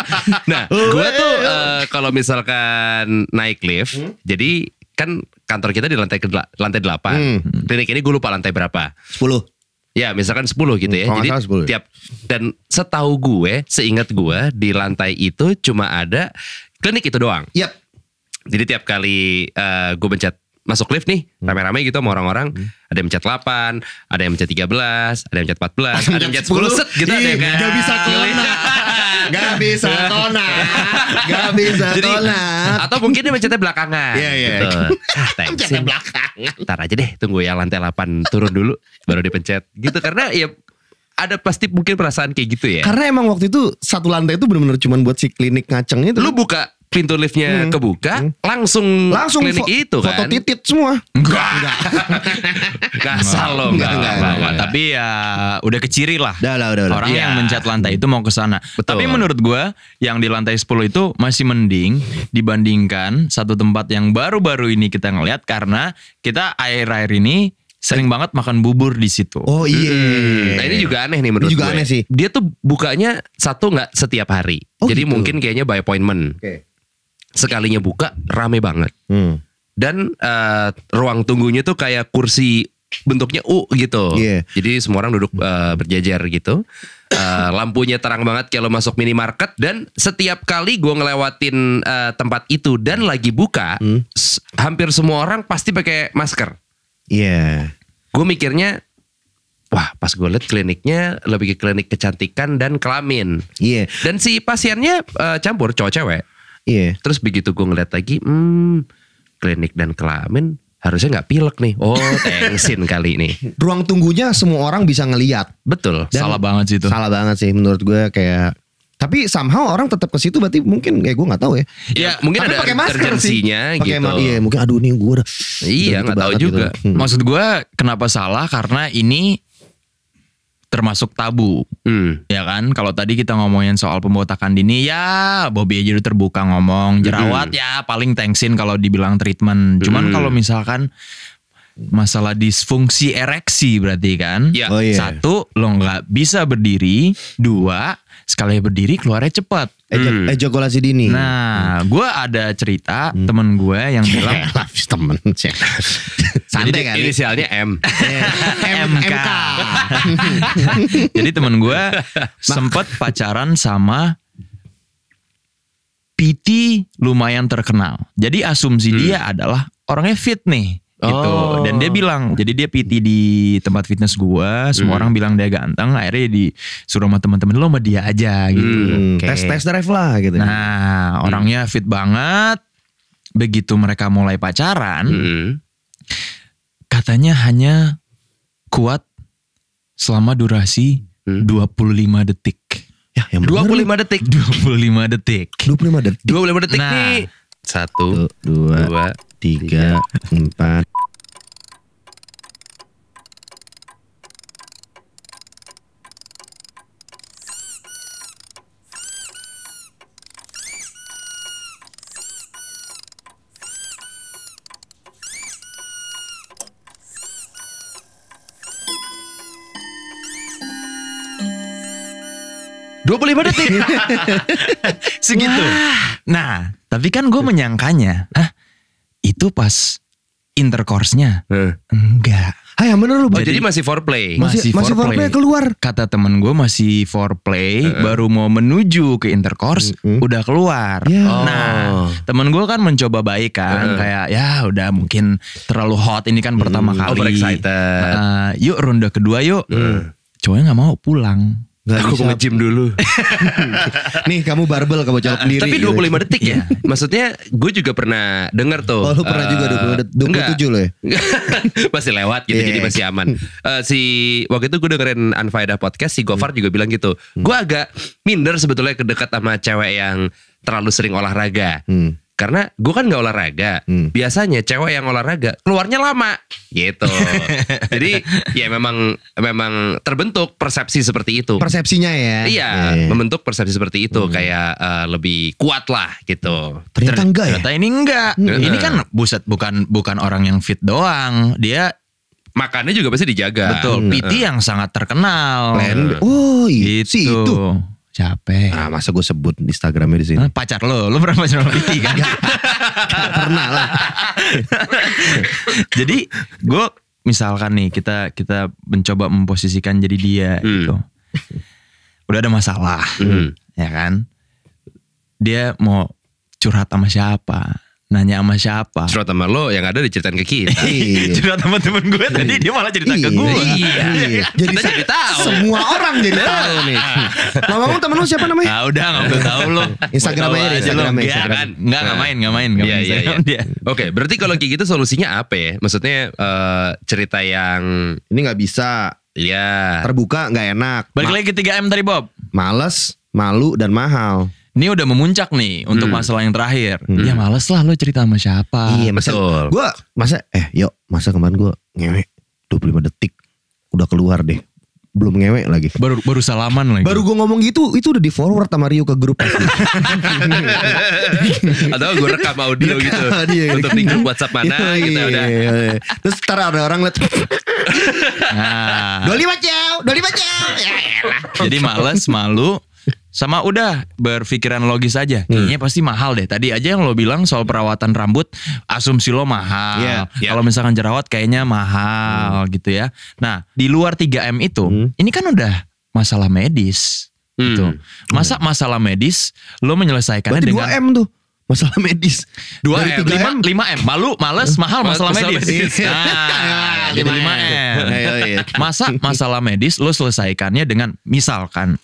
[SPEAKER 4] Nah,
[SPEAKER 2] Oh,
[SPEAKER 4] gue tuh eh, kalau misalkan naik lift,
[SPEAKER 2] Hmm?
[SPEAKER 4] jadi kan kantor kita di lantai ke lantai 8.
[SPEAKER 2] Hmm.
[SPEAKER 4] Klinik ini gue lupa lantai berapa.
[SPEAKER 2] Sepuluh.
[SPEAKER 4] Ya, misalkan 10 gitu ya.
[SPEAKER 2] Kalau nggak
[SPEAKER 4] jadi
[SPEAKER 2] salah 10 ya.
[SPEAKER 4] tiap dan setahu gue, seingat gue di lantai itu cuma ada klinik itu doang.
[SPEAKER 2] Yap.
[SPEAKER 4] Jadi tiap kali eh, gue mencet masuk lift nih
[SPEAKER 2] Hmm.
[SPEAKER 4] rame-rame gitu sama orang-orang ada yang mencet 8 ada yang mencet 13 ada yang mencet 14 ada yang mencet 10 set gitu ada
[SPEAKER 2] Ih,
[SPEAKER 4] yang kayak-
[SPEAKER 2] Gak Iya, bisa kona. Gak bisa kona. Gak bisa
[SPEAKER 4] Jadi-
[SPEAKER 2] kona.
[SPEAKER 4] atau mungkin dia mencetnya belakangan.
[SPEAKER 2] Iya, iya.
[SPEAKER 4] Gitu. Ah, thanks.
[SPEAKER 2] Mencetnya belakangan.
[SPEAKER 4] Ntar aja deh, tunggu ya lantai 8 turun dulu baru dipencet. Gitu karena ya ada pasti mungkin perasaan kayak gitu ya.
[SPEAKER 2] Karena emang waktu itu satu lantai itu benar-benar cuman buat si klinik ngacengnya itu. Hmm.
[SPEAKER 4] Lu buka pintu liftnya kebuka, langsung,
[SPEAKER 2] langsung
[SPEAKER 4] klinik
[SPEAKER 2] fo-
[SPEAKER 4] itu
[SPEAKER 2] foto
[SPEAKER 4] kan.
[SPEAKER 2] titit semua.
[SPEAKER 4] Enggak. Kasar lo
[SPEAKER 2] Enggak,
[SPEAKER 4] enggak.
[SPEAKER 2] enggak,
[SPEAKER 4] enggak,
[SPEAKER 2] enggak.
[SPEAKER 4] enggak.
[SPEAKER 3] Tapi ya udah keciri lah.
[SPEAKER 2] Udah lah, udah, udah.
[SPEAKER 3] Orang
[SPEAKER 4] Iya.
[SPEAKER 3] yang mencat lantai itu mau ke sana.
[SPEAKER 4] Betul.
[SPEAKER 3] Tapi menurut gua yang di lantai 10 itu masih mending dibandingkan satu tempat yang baru-baru ini kita ngelihat karena kita air-air ini sering banget makan bubur di situ.
[SPEAKER 2] Oh iya.
[SPEAKER 4] Nah ini juga aneh nih menurut
[SPEAKER 2] Ini juga
[SPEAKER 4] gue.
[SPEAKER 2] aneh sih.
[SPEAKER 4] Dia tuh bukanya satu nggak setiap hari.
[SPEAKER 2] Oh,
[SPEAKER 4] Jadi
[SPEAKER 2] gitu.
[SPEAKER 4] mungkin kayaknya by appointment.
[SPEAKER 2] Oke.
[SPEAKER 4] Sekalinya buka rame banget.
[SPEAKER 2] Hmm.
[SPEAKER 4] dan eh, ruang tunggunya tuh kayak kursi bentuknya U gitu.
[SPEAKER 2] Iya.
[SPEAKER 4] Jadi semua orang duduk eh, berjajar gitu. Eh, lampunya terang banget kalau masuk minimarket dan setiap kali gua ngelewatin eh, tempat itu dan lagi buka,
[SPEAKER 2] Hmm.
[SPEAKER 4] s- hampir semua orang pasti pakai masker.
[SPEAKER 2] Iya.
[SPEAKER 4] Gue mikirnya Wah, pas gue liat kliniknya lebih ke klinik kecantikan dan kelamin.
[SPEAKER 2] Iya.
[SPEAKER 4] Dan si pasiennya eh, campur cowok cewek.
[SPEAKER 2] Iya.
[SPEAKER 4] Terus begitu gue ngeliat lagi, hmm, klinik dan kelamin harusnya nggak pilek nih. Oh, tensin kali ini.
[SPEAKER 2] Ruang tunggunya semua orang bisa ngeliat.
[SPEAKER 4] Betul.
[SPEAKER 2] Dan-
[SPEAKER 3] Salah banget
[SPEAKER 4] Gitu.
[SPEAKER 3] sih itu.
[SPEAKER 2] Salah banget sih menurut gue kayak tapi somehow orang tetap ke situ berarti mungkin kayak gue nggak tahu ya.
[SPEAKER 4] Ya, mungkin
[SPEAKER 2] Tapi
[SPEAKER 4] ada
[SPEAKER 2] pakai masker sih.
[SPEAKER 4] urgensinya
[SPEAKER 2] Pakai
[SPEAKER 4] gitu.
[SPEAKER 2] ma- iya, mungkin aduh nih gue udah.
[SPEAKER 4] Iya,
[SPEAKER 2] udah gitu
[SPEAKER 4] nggak tahu
[SPEAKER 2] banget
[SPEAKER 4] juga.
[SPEAKER 2] gitu. Hmm.
[SPEAKER 3] Maksud gua kenapa salah karena ini termasuk tabu.
[SPEAKER 4] Hmm.
[SPEAKER 3] Ya kan, kalau tadi kita ngomongin soal pembotakan dini, ya Bobby aja udah terbuka ngomong jerawat ya paling tensin kalau dibilang treatment.
[SPEAKER 4] Mm.
[SPEAKER 3] Cuman kalau misalkan masalah disfungsi ereksi berarti kan,
[SPEAKER 4] Ya.
[SPEAKER 2] Oh, iya.
[SPEAKER 3] satu lo nggak bisa berdiri, dua sekali berdiri keluarnya cepat.
[SPEAKER 2] Eja-
[SPEAKER 4] Hmm.
[SPEAKER 2] Ejakulasi dini.
[SPEAKER 3] Nah, gua ada cerita temen gue yang bilang
[SPEAKER 2] Elah, temen. Santai
[SPEAKER 4] Jadi
[SPEAKER 2] kali. Iya.
[SPEAKER 4] Inisialnya M.
[SPEAKER 2] M-
[SPEAKER 3] MK. Jadi temen gue sempet pacaran sama PT lumayan terkenal. Jadi asumsi dia adalah orangnya fit nih. Gitu.
[SPEAKER 4] Oh.
[SPEAKER 3] Dan dia bilang, jadi dia PT di tempat fitness gua, semua orang bilang dia ganteng, akhirnya disuruh sama teman-teman lo sama dia aja
[SPEAKER 2] Hmm,
[SPEAKER 3] gitu. Oke.
[SPEAKER 2] Tes tes drive lah gitu.
[SPEAKER 3] Nah, orangnya fit banget. Begitu mereka mulai pacaran,
[SPEAKER 4] Hmm.
[SPEAKER 3] katanya hanya kuat selama durasi
[SPEAKER 4] Hmm.
[SPEAKER 3] 25 detik.
[SPEAKER 2] ya, yang
[SPEAKER 4] 25 detik.
[SPEAKER 3] 25 detik.
[SPEAKER 2] 25 detik.
[SPEAKER 4] 25 detik
[SPEAKER 3] Nah.
[SPEAKER 4] nih.
[SPEAKER 2] 1
[SPEAKER 4] Satu,
[SPEAKER 2] 2
[SPEAKER 4] dua,
[SPEAKER 2] 3 4
[SPEAKER 4] 25 detik.
[SPEAKER 3] Segitu. Nah, tapi kan gue menyangkanya, ah itu pas intercourse-nya.
[SPEAKER 4] Eh.
[SPEAKER 3] Enggak.
[SPEAKER 2] Hai, Ah, yang bener lu.
[SPEAKER 4] Oh,
[SPEAKER 2] Bang.
[SPEAKER 4] jadi, masih foreplay.
[SPEAKER 3] Mas-
[SPEAKER 2] masih
[SPEAKER 3] masih
[SPEAKER 2] masih
[SPEAKER 3] foreplay.
[SPEAKER 2] foreplay keluar.
[SPEAKER 3] Kata temen gue masih foreplay, baru mau menuju ke intercourse, udah keluar.
[SPEAKER 2] Ya.
[SPEAKER 3] Nah,
[SPEAKER 4] Oh.
[SPEAKER 3] temen gue kan mencoba baik kan, kayak ya udah mungkin terlalu hot ini kan pertama kali.
[SPEAKER 4] Hmm. Overexcited.
[SPEAKER 3] Eh,
[SPEAKER 2] Iya.
[SPEAKER 3] Nah, yuk ronde kedua yuk. Cowoknya nggak mau pulang.
[SPEAKER 2] Nggak
[SPEAKER 4] Aku
[SPEAKER 2] bisa.
[SPEAKER 4] mau nge-gym dulu.
[SPEAKER 2] Nih kamu barbel kamu colok sendiri.
[SPEAKER 4] Tapi
[SPEAKER 2] gitu.
[SPEAKER 4] 25 detik ya. Maksudnya gue juga pernah denger tuh.
[SPEAKER 2] Oh lu pernah
[SPEAKER 4] eh,
[SPEAKER 2] juga 20 det- 27 lo ya.
[SPEAKER 4] masih lewat gitu
[SPEAKER 2] Iya.
[SPEAKER 4] jadi masih aman. Eh, si waktu itu gue dengerin Anfaedah podcast si Gofar
[SPEAKER 2] Hmm.
[SPEAKER 4] juga bilang gitu. Gue agak minder sebetulnya kedekat sama cewek yang terlalu sering olahraga.
[SPEAKER 2] Hmm.
[SPEAKER 4] Karena gue kan nggak olahraga.
[SPEAKER 2] Hmm.
[SPEAKER 4] Biasanya cewek yang olahraga keluarnya lama gitu. jadi ya memang memang terbentuk persepsi seperti itu.
[SPEAKER 2] Persepsinya ya.
[SPEAKER 4] Iya, membentuk persepsi seperti itu
[SPEAKER 2] Hmm.
[SPEAKER 4] kayak eh, lebih kuat lah gitu.
[SPEAKER 2] Ternyata enggak ya.
[SPEAKER 3] Ternyata ini enggak.
[SPEAKER 4] Hmm.
[SPEAKER 3] Ini kan buset bukan bukan orang yang fit doang. Dia
[SPEAKER 4] Makannya juga pasti dijaga. Hmm.
[SPEAKER 3] betul PT yang sangat terkenal.
[SPEAKER 2] Plan B. Oh iya.
[SPEAKER 3] Gitu.
[SPEAKER 2] Si itu.
[SPEAKER 3] Capek.
[SPEAKER 2] Ah masa gue sebut Instagramnya di sini.
[SPEAKER 3] Pacar lo, lo pernah pacaran sama PT kan?
[SPEAKER 2] Nggak pernah lah.
[SPEAKER 3] jadi gue misalkan nih kita kita mencoba memposisikan jadi dia
[SPEAKER 4] Hmm.
[SPEAKER 3] gitu udah ada masalah
[SPEAKER 4] Hmm.
[SPEAKER 3] ya kan dia mau curhat sama siapa nanya sama siapa
[SPEAKER 4] Cerot sama Eh, lo yang ada diceritain ke kita.
[SPEAKER 2] Iya.
[SPEAKER 3] curhat sama temen gue tadi dia malah cerita ke gue
[SPEAKER 4] Iya.
[SPEAKER 2] Jadi
[SPEAKER 4] Kita jadi tahu.
[SPEAKER 2] Semua orang jadi tahu nih. Ngomong temen lu siapa namanya?
[SPEAKER 3] Nah udah gak perlu tahu lo
[SPEAKER 2] Instagram aja deh, Instagram aja,
[SPEAKER 3] Enggak
[SPEAKER 4] Instagram.
[SPEAKER 3] Enggak gak main Gak main nggak
[SPEAKER 4] Iya,
[SPEAKER 3] main
[SPEAKER 4] iya,
[SPEAKER 3] Instagram dia.
[SPEAKER 4] Oke, berarti kalau kayak gitu solusinya apa ya? Maksudnya eh, cerita yang
[SPEAKER 2] Ini nggak bisa.
[SPEAKER 4] ya
[SPEAKER 2] Terbuka nggak enak.
[SPEAKER 3] Balik lagi ke 3M tadi Bob
[SPEAKER 2] Males, malu dan mahal.
[SPEAKER 3] Ini udah memuncak nih Untuk masalah yang terakhir Ya males lah lo cerita sama siapa
[SPEAKER 2] Hmm. iya masa
[SPEAKER 4] betul.
[SPEAKER 2] Gue masa eh yuk masa kemarin gue ngewe 25 detik udah keluar deh belum ngewe lagi.
[SPEAKER 3] Baru, baru salaman lagi
[SPEAKER 2] Baru gue ngomong gitu itu udah di forward sama Rio ke grup
[SPEAKER 4] Iya,
[SPEAKER 2] pasti.
[SPEAKER 4] atau gue rekam audio gitu
[SPEAKER 2] Dia.
[SPEAKER 4] untuk di grup WhatsApp mana
[SPEAKER 2] Iya,
[SPEAKER 4] gitu udah. Ah.
[SPEAKER 2] iya, iya. Terus ntar ada orang liat
[SPEAKER 3] Nah
[SPEAKER 2] 25 jauh, 25 jauh. Ya elah.
[SPEAKER 3] Jadi males, malu, sama udah berpikiran logis aja.
[SPEAKER 2] Hmm.
[SPEAKER 3] Kayaknya pasti mahal deh. Tadi aja yang lo bilang soal perawatan rambut, asumsi lo mahal.
[SPEAKER 2] Iya, Hmm.
[SPEAKER 4] iya.
[SPEAKER 3] Kalau misalkan jerawat kayaknya mahal gitu ya. Nah, di luar 3M itu, ini kan udah masalah medis.
[SPEAKER 4] Hmm.
[SPEAKER 3] Gitu. Masa masalah medis lo
[SPEAKER 4] Kan
[SPEAKER 3] menyelesaikannya
[SPEAKER 2] Berarti
[SPEAKER 3] dengan
[SPEAKER 2] 2 M tuh masalah medis.
[SPEAKER 4] 2M,
[SPEAKER 2] Dari
[SPEAKER 3] 5
[SPEAKER 2] 3 M.
[SPEAKER 3] m 5M. Malu, males, mahal masalah,
[SPEAKER 4] Masalah
[SPEAKER 3] medis.
[SPEAKER 4] medis.
[SPEAKER 2] Iya,
[SPEAKER 3] Nah, jadi 5M.
[SPEAKER 2] Ayo, iya.
[SPEAKER 3] Masa masalah medis lo selesaikannya dengan misalkan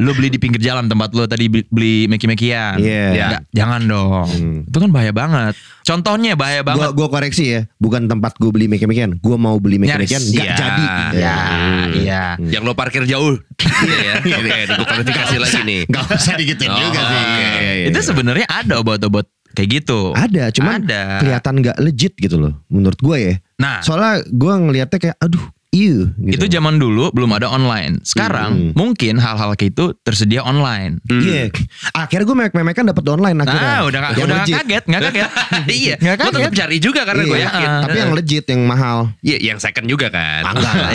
[SPEAKER 3] lo beli di pinggir jalan tempat lo tadi bi- beli meki-mekian.
[SPEAKER 2] Iya.
[SPEAKER 4] Ya.
[SPEAKER 2] Hmm.
[SPEAKER 3] Nggak, Jangan dong. Itu kan bahaya banget. Contohnya bahaya
[SPEAKER 2] Gua,
[SPEAKER 3] banget.
[SPEAKER 2] gua koreksi ya, bukan tempat gue beli mekanikan. Gua mau beli mekanikan,
[SPEAKER 3] Nyaris.
[SPEAKER 2] nggak
[SPEAKER 4] Iya.
[SPEAKER 2] jadi.
[SPEAKER 4] Iya.
[SPEAKER 3] Ah, iya.
[SPEAKER 4] Yang lo parkir jauh. Iya ya. Oke, gue klarifikasi lagi nih.
[SPEAKER 2] Gak usah digituin
[SPEAKER 4] Oh,
[SPEAKER 2] juga sih.
[SPEAKER 4] oke.
[SPEAKER 2] Iya, iya,
[SPEAKER 3] Itu
[SPEAKER 2] iya.
[SPEAKER 3] sebenarnya ada obat-obat kayak gitu.
[SPEAKER 2] ada, cuman
[SPEAKER 3] Ada.
[SPEAKER 2] kelihatan nggak legit gitu loh, menurut gue ya.
[SPEAKER 3] Nah,
[SPEAKER 2] Soalnya gue ngelihatnya kayak, aduh, iu. Gitu. Hmm.
[SPEAKER 3] itu zaman dulu belum ada online. Sekarang mungkin hal-hal kayak itu tersedia online.
[SPEAKER 2] Iya. Akhirnya gue memek-memekan dapat online akhirnya.
[SPEAKER 3] Nah, udah nggak
[SPEAKER 2] Yang
[SPEAKER 3] udah nggak
[SPEAKER 2] legit.
[SPEAKER 3] kaget, nggak kaget.
[SPEAKER 4] iya,
[SPEAKER 3] nggak
[SPEAKER 4] gue
[SPEAKER 3] kaget.
[SPEAKER 4] tetap cari juga karena gue
[SPEAKER 2] Iya,
[SPEAKER 4] yakin.
[SPEAKER 2] Tapi yang legit, yang mahal.
[SPEAKER 4] Iya, yang second juga kan.
[SPEAKER 2] Ah, Enggak lah.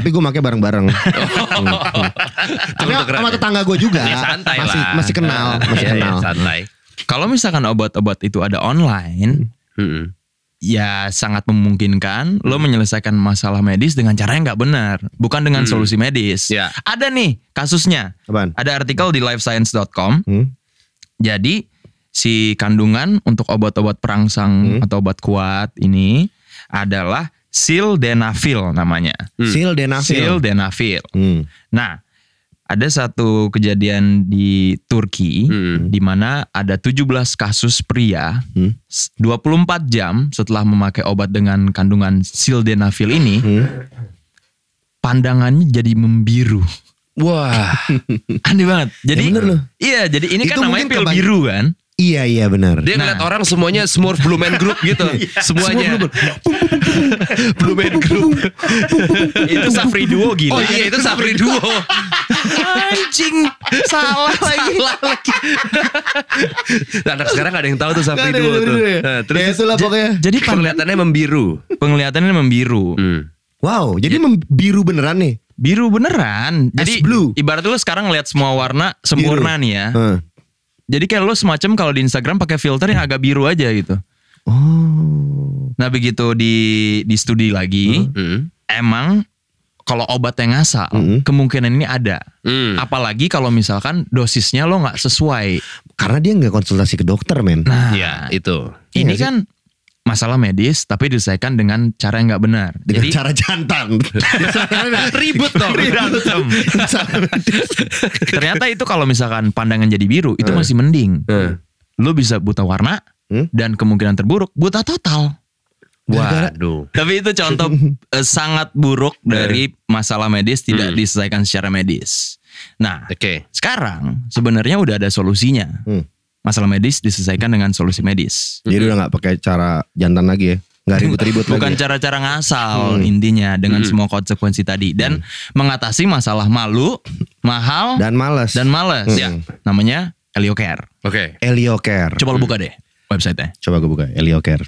[SPEAKER 2] Tapi gue pakai bareng-bareng. Hmm. Tapi
[SPEAKER 4] Cukup keren
[SPEAKER 2] sama
[SPEAKER 4] ya.
[SPEAKER 2] tetangga gue juga.
[SPEAKER 4] Ya, santai
[SPEAKER 2] masih,
[SPEAKER 4] lah.
[SPEAKER 2] Masih kenal, masih
[SPEAKER 4] Iya, iya,
[SPEAKER 2] kenal.
[SPEAKER 4] santai.
[SPEAKER 3] Kalau misalkan obat-obat itu ada online,
[SPEAKER 4] Mm-mm.
[SPEAKER 3] ya sangat memungkinkan lo menyelesaikan masalah medis dengan cara yang nggak benar, bukan dengan solusi medis.
[SPEAKER 4] Ya.
[SPEAKER 3] Ada nih kasusnya.
[SPEAKER 2] Apaan?
[SPEAKER 3] Ada artikel di lifescience.com.
[SPEAKER 2] Hmm?
[SPEAKER 3] Jadi si kandungan untuk obat-obat perangsang atau obat kuat ini adalah sildenafil namanya.
[SPEAKER 4] Hmm.
[SPEAKER 2] Sil Denafil.
[SPEAKER 3] Sildenafil.
[SPEAKER 2] Hmm.
[SPEAKER 3] Nah, ada satu kejadian di Turki
[SPEAKER 4] Hmm.
[SPEAKER 3] di mana ada 17 kasus pria
[SPEAKER 2] Hmm.
[SPEAKER 3] s- 24 jam setelah memakai obat dengan kandungan sildenafil ini
[SPEAKER 2] Hmm.
[SPEAKER 3] pandangannya jadi membiru.
[SPEAKER 4] Wah,
[SPEAKER 3] Aneh banget. Jadi
[SPEAKER 2] Hmm. Ya bener loh.
[SPEAKER 3] Iya, jadi ini
[SPEAKER 2] Itu
[SPEAKER 3] kan namanya
[SPEAKER 2] mungkin
[SPEAKER 3] pil
[SPEAKER 2] kebany-
[SPEAKER 3] biru kan?
[SPEAKER 2] Iya iya benar.
[SPEAKER 4] dia ngeliat orang semuanya Smurf Blue Man Group gitu, semuanya. Blue Man Group.
[SPEAKER 3] itu Safri
[SPEAKER 4] Oh
[SPEAKER 3] Duo gila.
[SPEAKER 4] iya itu Sapri Duo.
[SPEAKER 3] Anjing. Salah lagi.
[SPEAKER 4] Salah lagi. Nah, Anak sekarang gak ada yang tahu tuh Sapri Duo tuh.
[SPEAKER 2] Terus
[SPEAKER 4] Nah,
[SPEAKER 2] ya,
[SPEAKER 4] terus
[SPEAKER 2] itulah pokoknya.
[SPEAKER 3] Jadi pang-
[SPEAKER 4] penglihatannya membiru.
[SPEAKER 3] penglihatannya membiru.
[SPEAKER 4] Hmm.
[SPEAKER 2] Wow, jadi mem- biru beneran nih.
[SPEAKER 3] Biru beneran.
[SPEAKER 2] As
[SPEAKER 3] Jadi
[SPEAKER 2] blue.
[SPEAKER 3] ibarat lu sekarang lihat semua warna sempurna nih ya.
[SPEAKER 2] Heeh.
[SPEAKER 3] Jadi kayak lo semacam kalau di Instagram pakai filter yang agak biru aja gitu.
[SPEAKER 2] Oh.
[SPEAKER 3] Nah begitu di di studi lagi,
[SPEAKER 4] Hmm.
[SPEAKER 3] emang kalau obat yang ngasal
[SPEAKER 2] Hmm.
[SPEAKER 3] kemungkinan ini ada.
[SPEAKER 4] Hmm.
[SPEAKER 3] Apalagi kalau misalkan dosisnya lo nggak sesuai.
[SPEAKER 2] Karena dia nggak konsultasi ke dokter, men.
[SPEAKER 3] Nah
[SPEAKER 4] Iya itu.
[SPEAKER 2] Iya
[SPEAKER 3] ini
[SPEAKER 2] sih.
[SPEAKER 3] kan masalah medis tapi diselesaikan dengan cara yang nggak benar.
[SPEAKER 2] dengan
[SPEAKER 3] Jadi
[SPEAKER 2] cara jantan.
[SPEAKER 4] Ribut dong.
[SPEAKER 3] berantem.
[SPEAKER 4] Iya.
[SPEAKER 3] Ternyata itu kalau misalkan pandangan jadi biru itu
[SPEAKER 4] Eh.
[SPEAKER 3] masih mending.
[SPEAKER 4] Eh.
[SPEAKER 3] Lu bisa buta warna
[SPEAKER 2] Iya. Hmm?
[SPEAKER 3] dan kemungkinan terburuk buta total.
[SPEAKER 4] Waduh.
[SPEAKER 3] Tapi itu contoh eh, sangat
[SPEAKER 2] Iya,
[SPEAKER 3] buruk dari masalah medis tidak
[SPEAKER 4] Hmm.
[SPEAKER 3] diselesaikan secara medis. Nah,
[SPEAKER 4] Oke.
[SPEAKER 3] sekarang sebenarnya udah ada solusinya.
[SPEAKER 2] Hmm.
[SPEAKER 3] Masalah medis diselesaikan dengan solusi medis.
[SPEAKER 2] Jadi udah nggak pakai cara jantan lagi ya. Nggak ribut-ribut lagi.
[SPEAKER 3] Bukan
[SPEAKER 2] ya?
[SPEAKER 3] cara-cara
[SPEAKER 2] Hmm.
[SPEAKER 3] ngasal intinya dengan
[SPEAKER 4] Hmm.
[SPEAKER 3] semua konsekuensi tadi dan mengatasi masalah malu, mahal
[SPEAKER 2] Dan
[SPEAKER 3] dan,
[SPEAKER 2] males.
[SPEAKER 3] males
[SPEAKER 2] Hmm.
[SPEAKER 3] ya. Namanya Eliocare.
[SPEAKER 4] Oke.
[SPEAKER 2] Eliocare. Coba,
[SPEAKER 3] Coba
[SPEAKER 4] Hmm.
[SPEAKER 3] lu buka deh websitenya.
[SPEAKER 2] gue buka Eliocare.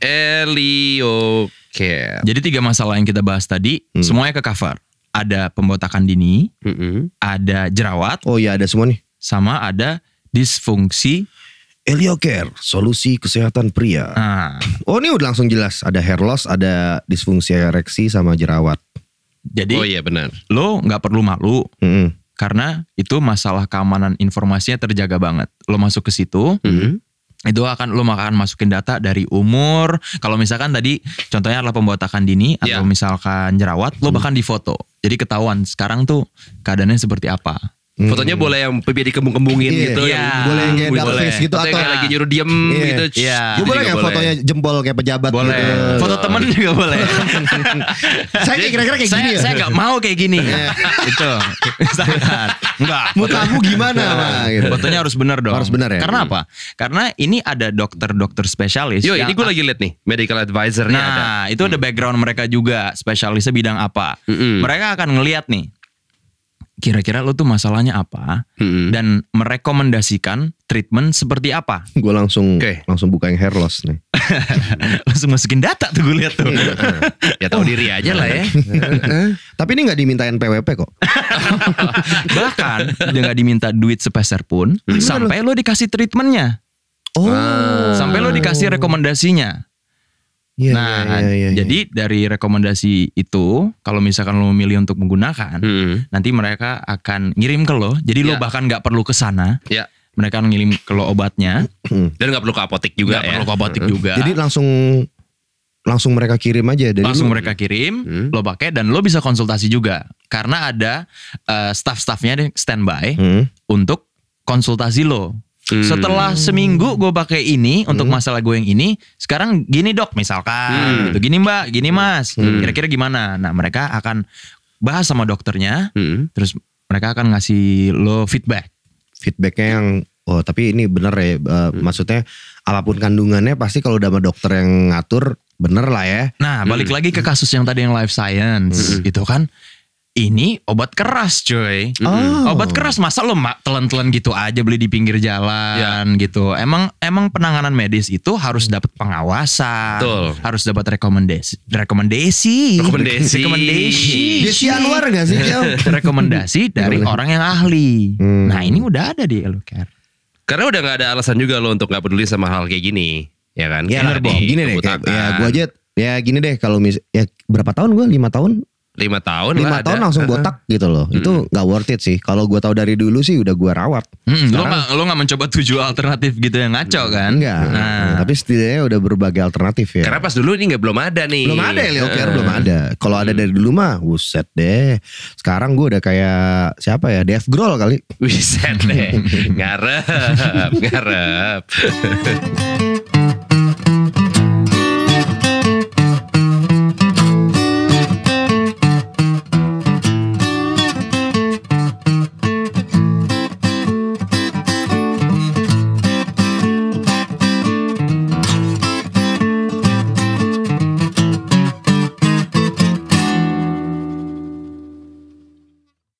[SPEAKER 4] Elio Care.
[SPEAKER 3] Jadi tiga masalah yang kita bahas tadi
[SPEAKER 2] Hmm.
[SPEAKER 3] semuanya ke cover. Ada pembotakan dini,
[SPEAKER 4] Mm-mm.
[SPEAKER 3] ada jerawat,
[SPEAKER 2] Oh iya ada semua nih.
[SPEAKER 3] sama ada disfungsi.
[SPEAKER 2] Eliocare, solusi kesehatan pria.
[SPEAKER 3] Nah,
[SPEAKER 2] Oh ini udah langsung jelas. Ada hair loss, ada disfungsi ereksi sama jerawat.
[SPEAKER 3] jadi
[SPEAKER 4] Oh iya benar.
[SPEAKER 3] lo nggak perlu malu
[SPEAKER 2] Mm-mm.
[SPEAKER 3] karena itu masalah keamanan informasinya terjaga banget. Lo masuk ke situ,
[SPEAKER 2] Hmm.
[SPEAKER 4] Mm-mm.
[SPEAKER 3] itu akan lo akan masukin data dari umur. Kalau misalkan tadi contohnya adalah pembotakan dini
[SPEAKER 2] Ya.
[SPEAKER 3] atau
[SPEAKER 4] Iya.
[SPEAKER 3] misalkan jerawat,
[SPEAKER 2] Hmm.
[SPEAKER 3] lo bahkan difoto. Jadi ketahuan sekarang tuh keadaannya seperti apa.
[SPEAKER 2] Mm.
[SPEAKER 4] Fotonya boleh yang pipi dikembung-kembungin
[SPEAKER 2] Iya.
[SPEAKER 4] gitu.
[SPEAKER 3] Iya.
[SPEAKER 4] yang-
[SPEAKER 2] Boleh yang kayak
[SPEAKER 4] Boleh.
[SPEAKER 2] dark face gitu
[SPEAKER 4] Atau yang
[SPEAKER 2] atau
[SPEAKER 4] kayak lagi nyuruh diem
[SPEAKER 2] Iya.
[SPEAKER 4] gitu.
[SPEAKER 3] Iya.
[SPEAKER 2] Gue boleh
[SPEAKER 4] Juga
[SPEAKER 2] nggak fotonya jempol kayak pejabat
[SPEAKER 3] Boleh.
[SPEAKER 2] gitu?
[SPEAKER 3] Foto temen juga boleh.
[SPEAKER 2] Saya kayak kira-kira kayak
[SPEAKER 3] saya,
[SPEAKER 2] gini ya. Iya.
[SPEAKER 3] Saya nggak mau kayak gini. itu. Misalkan. Enggak.
[SPEAKER 2] Mukamu gimana? Nah, gitu.
[SPEAKER 3] Fotonya harus benar dong.
[SPEAKER 2] Harus benar ya?
[SPEAKER 3] Karena
[SPEAKER 2] Hmm.
[SPEAKER 3] apa? Karena ini ada dokter-dokter spesialis.
[SPEAKER 4] Yo,
[SPEAKER 3] yang-
[SPEAKER 4] ini gue lagi liat nih medical advisor-nya ada.
[SPEAKER 3] Nah, itu
[SPEAKER 2] Hmm.
[SPEAKER 3] ada background mereka juga, spesialisnya bidang apa.
[SPEAKER 4] Mm-mm.
[SPEAKER 3] Mereka akan ngelihat nih, kira-kira lo tuh masalahnya apa,
[SPEAKER 2] Hmm.
[SPEAKER 4] Mm-mm.
[SPEAKER 3] dan merekomendasikan treatment seperti apa.
[SPEAKER 2] Gue langsung
[SPEAKER 4] Oke.
[SPEAKER 2] langsung buka yang hair loss nih.
[SPEAKER 3] Langsung masukin data tuh gue lihat tuh.
[SPEAKER 4] ya
[SPEAKER 2] Oh.
[SPEAKER 4] tahu diri aja lah ya.
[SPEAKER 2] Hmm. Tapi ini nggak dimintain PWP kok.
[SPEAKER 3] Bahkan dia nggak diminta duit sepeser pun,
[SPEAKER 2] Hmm.
[SPEAKER 3] sampai lo dikasih treatmentnya,
[SPEAKER 2] Oh.
[SPEAKER 3] sampai lo dikasih rekomendasinya.
[SPEAKER 2] Iya,
[SPEAKER 3] nah,
[SPEAKER 2] iya, iya, iya,
[SPEAKER 3] jadi dari rekomendasi itu, kalau misalkan lo memilih untuk
[SPEAKER 2] Hmm.
[SPEAKER 3] menggunakan,
[SPEAKER 4] Mm-mm.
[SPEAKER 3] nanti mereka akan ngirim ke lo. Jadi lo
[SPEAKER 4] Ya.
[SPEAKER 3] bahkan nggak perlu ke sana.
[SPEAKER 4] Ya.
[SPEAKER 3] Mereka ngirim ke lo obatnya,
[SPEAKER 4] Dan nggak perlu ke apotek juga
[SPEAKER 3] nggak
[SPEAKER 4] ya.
[SPEAKER 3] perlu ke apotek juga.
[SPEAKER 2] Hmm. jadi langsung langsung mereka kirim aja dari lu.
[SPEAKER 3] langsung mereka kirim,
[SPEAKER 4] Hmm.
[SPEAKER 3] lo pakai dan lo bisa konsultasi juga karena ada eh, staff-staffnya deh
[SPEAKER 4] Mm.
[SPEAKER 3] standby
[SPEAKER 2] Hmm.
[SPEAKER 3] untuk konsultasi lo.
[SPEAKER 4] Hmm.
[SPEAKER 3] Setelah seminggu gue pakai ini
[SPEAKER 4] Mm.
[SPEAKER 3] untuk masalah gue yang ini, sekarang gini dok misalkan,
[SPEAKER 4] Hmm.
[SPEAKER 3] gitu. gini mbak,
[SPEAKER 4] Mm.
[SPEAKER 3] gini mas, kira-kira gimana? Nah mereka akan bahas sama dokternya,
[SPEAKER 4] Mm-mm.
[SPEAKER 3] terus mereka akan ngasih lo feedback.
[SPEAKER 2] feedbacknya yang oh tapi ini bener ya eh,
[SPEAKER 3] Hmm.
[SPEAKER 2] maksudnya apapun kandungannya pasti kalau udah sama dokter yang ngatur bener lah ya.
[SPEAKER 4] Mm.
[SPEAKER 3] Nah, balik lagi ke kasus yang tadi yang life science, itu kan ini obat keras, coy.
[SPEAKER 2] Oh.
[SPEAKER 3] Hmm. Obat keras masa lo mak telan-telan gitu aja beli di pinggir jalan gitu. Emang emang penanganan medis itu harus dapat pengawasan,
[SPEAKER 4] Betul.
[SPEAKER 3] harus dapat rekomendasi, rekomendasi,
[SPEAKER 4] Rekomendasi.
[SPEAKER 3] rekomendasi,
[SPEAKER 2] Desi Anwar gak sih Cio?
[SPEAKER 3] rekomendasi dari orang yang ahli.
[SPEAKER 2] Hmm.
[SPEAKER 3] Nah, ini udah ada di Elocare.
[SPEAKER 4] Karena udah nggak ada alasan juga lo untuk nggak peduli sama hal kayak gini, ya kan?
[SPEAKER 2] Ya
[SPEAKER 4] Kayak
[SPEAKER 2] lah
[SPEAKER 4] tadi,
[SPEAKER 2] gini deh kayak,
[SPEAKER 4] kebutaan.
[SPEAKER 2] ya gue aja ya gini deh kalau mis ya berapa tahun gue lima tahun
[SPEAKER 4] lima tahun
[SPEAKER 2] lima
[SPEAKER 4] lah
[SPEAKER 2] tahun
[SPEAKER 4] ada.
[SPEAKER 2] langsung botak gitu loh itu
[SPEAKER 3] Hmm.
[SPEAKER 2] nggak worth it sih kalau gue tahu dari dulu sih udah gue rawat
[SPEAKER 3] Mm, lo
[SPEAKER 2] Sekarang-
[SPEAKER 3] nggak lo nggak mencoba tujuh alternatif gitu yang ngaco kan?
[SPEAKER 2] enggak
[SPEAKER 3] Nah,
[SPEAKER 2] Iya. tapi setidaknya udah berbagai alternatif ya
[SPEAKER 4] Karena pas dulu ini nggak belum ada nih.
[SPEAKER 2] belum ada ya Leo
[SPEAKER 3] Iya.
[SPEAKER 2] Care,
[SPEAKER 4] Heeh.
[SPEAKER 2] belum ada kalau
[SPEAKER 3] Hmm.
[SPEAKER 2] ada dari dulu mah buset deh sekarang gue udah kayak siapa ya Dev Grohl kali
[SPEAKER 4] Wiset deh. ngarep, ngarep.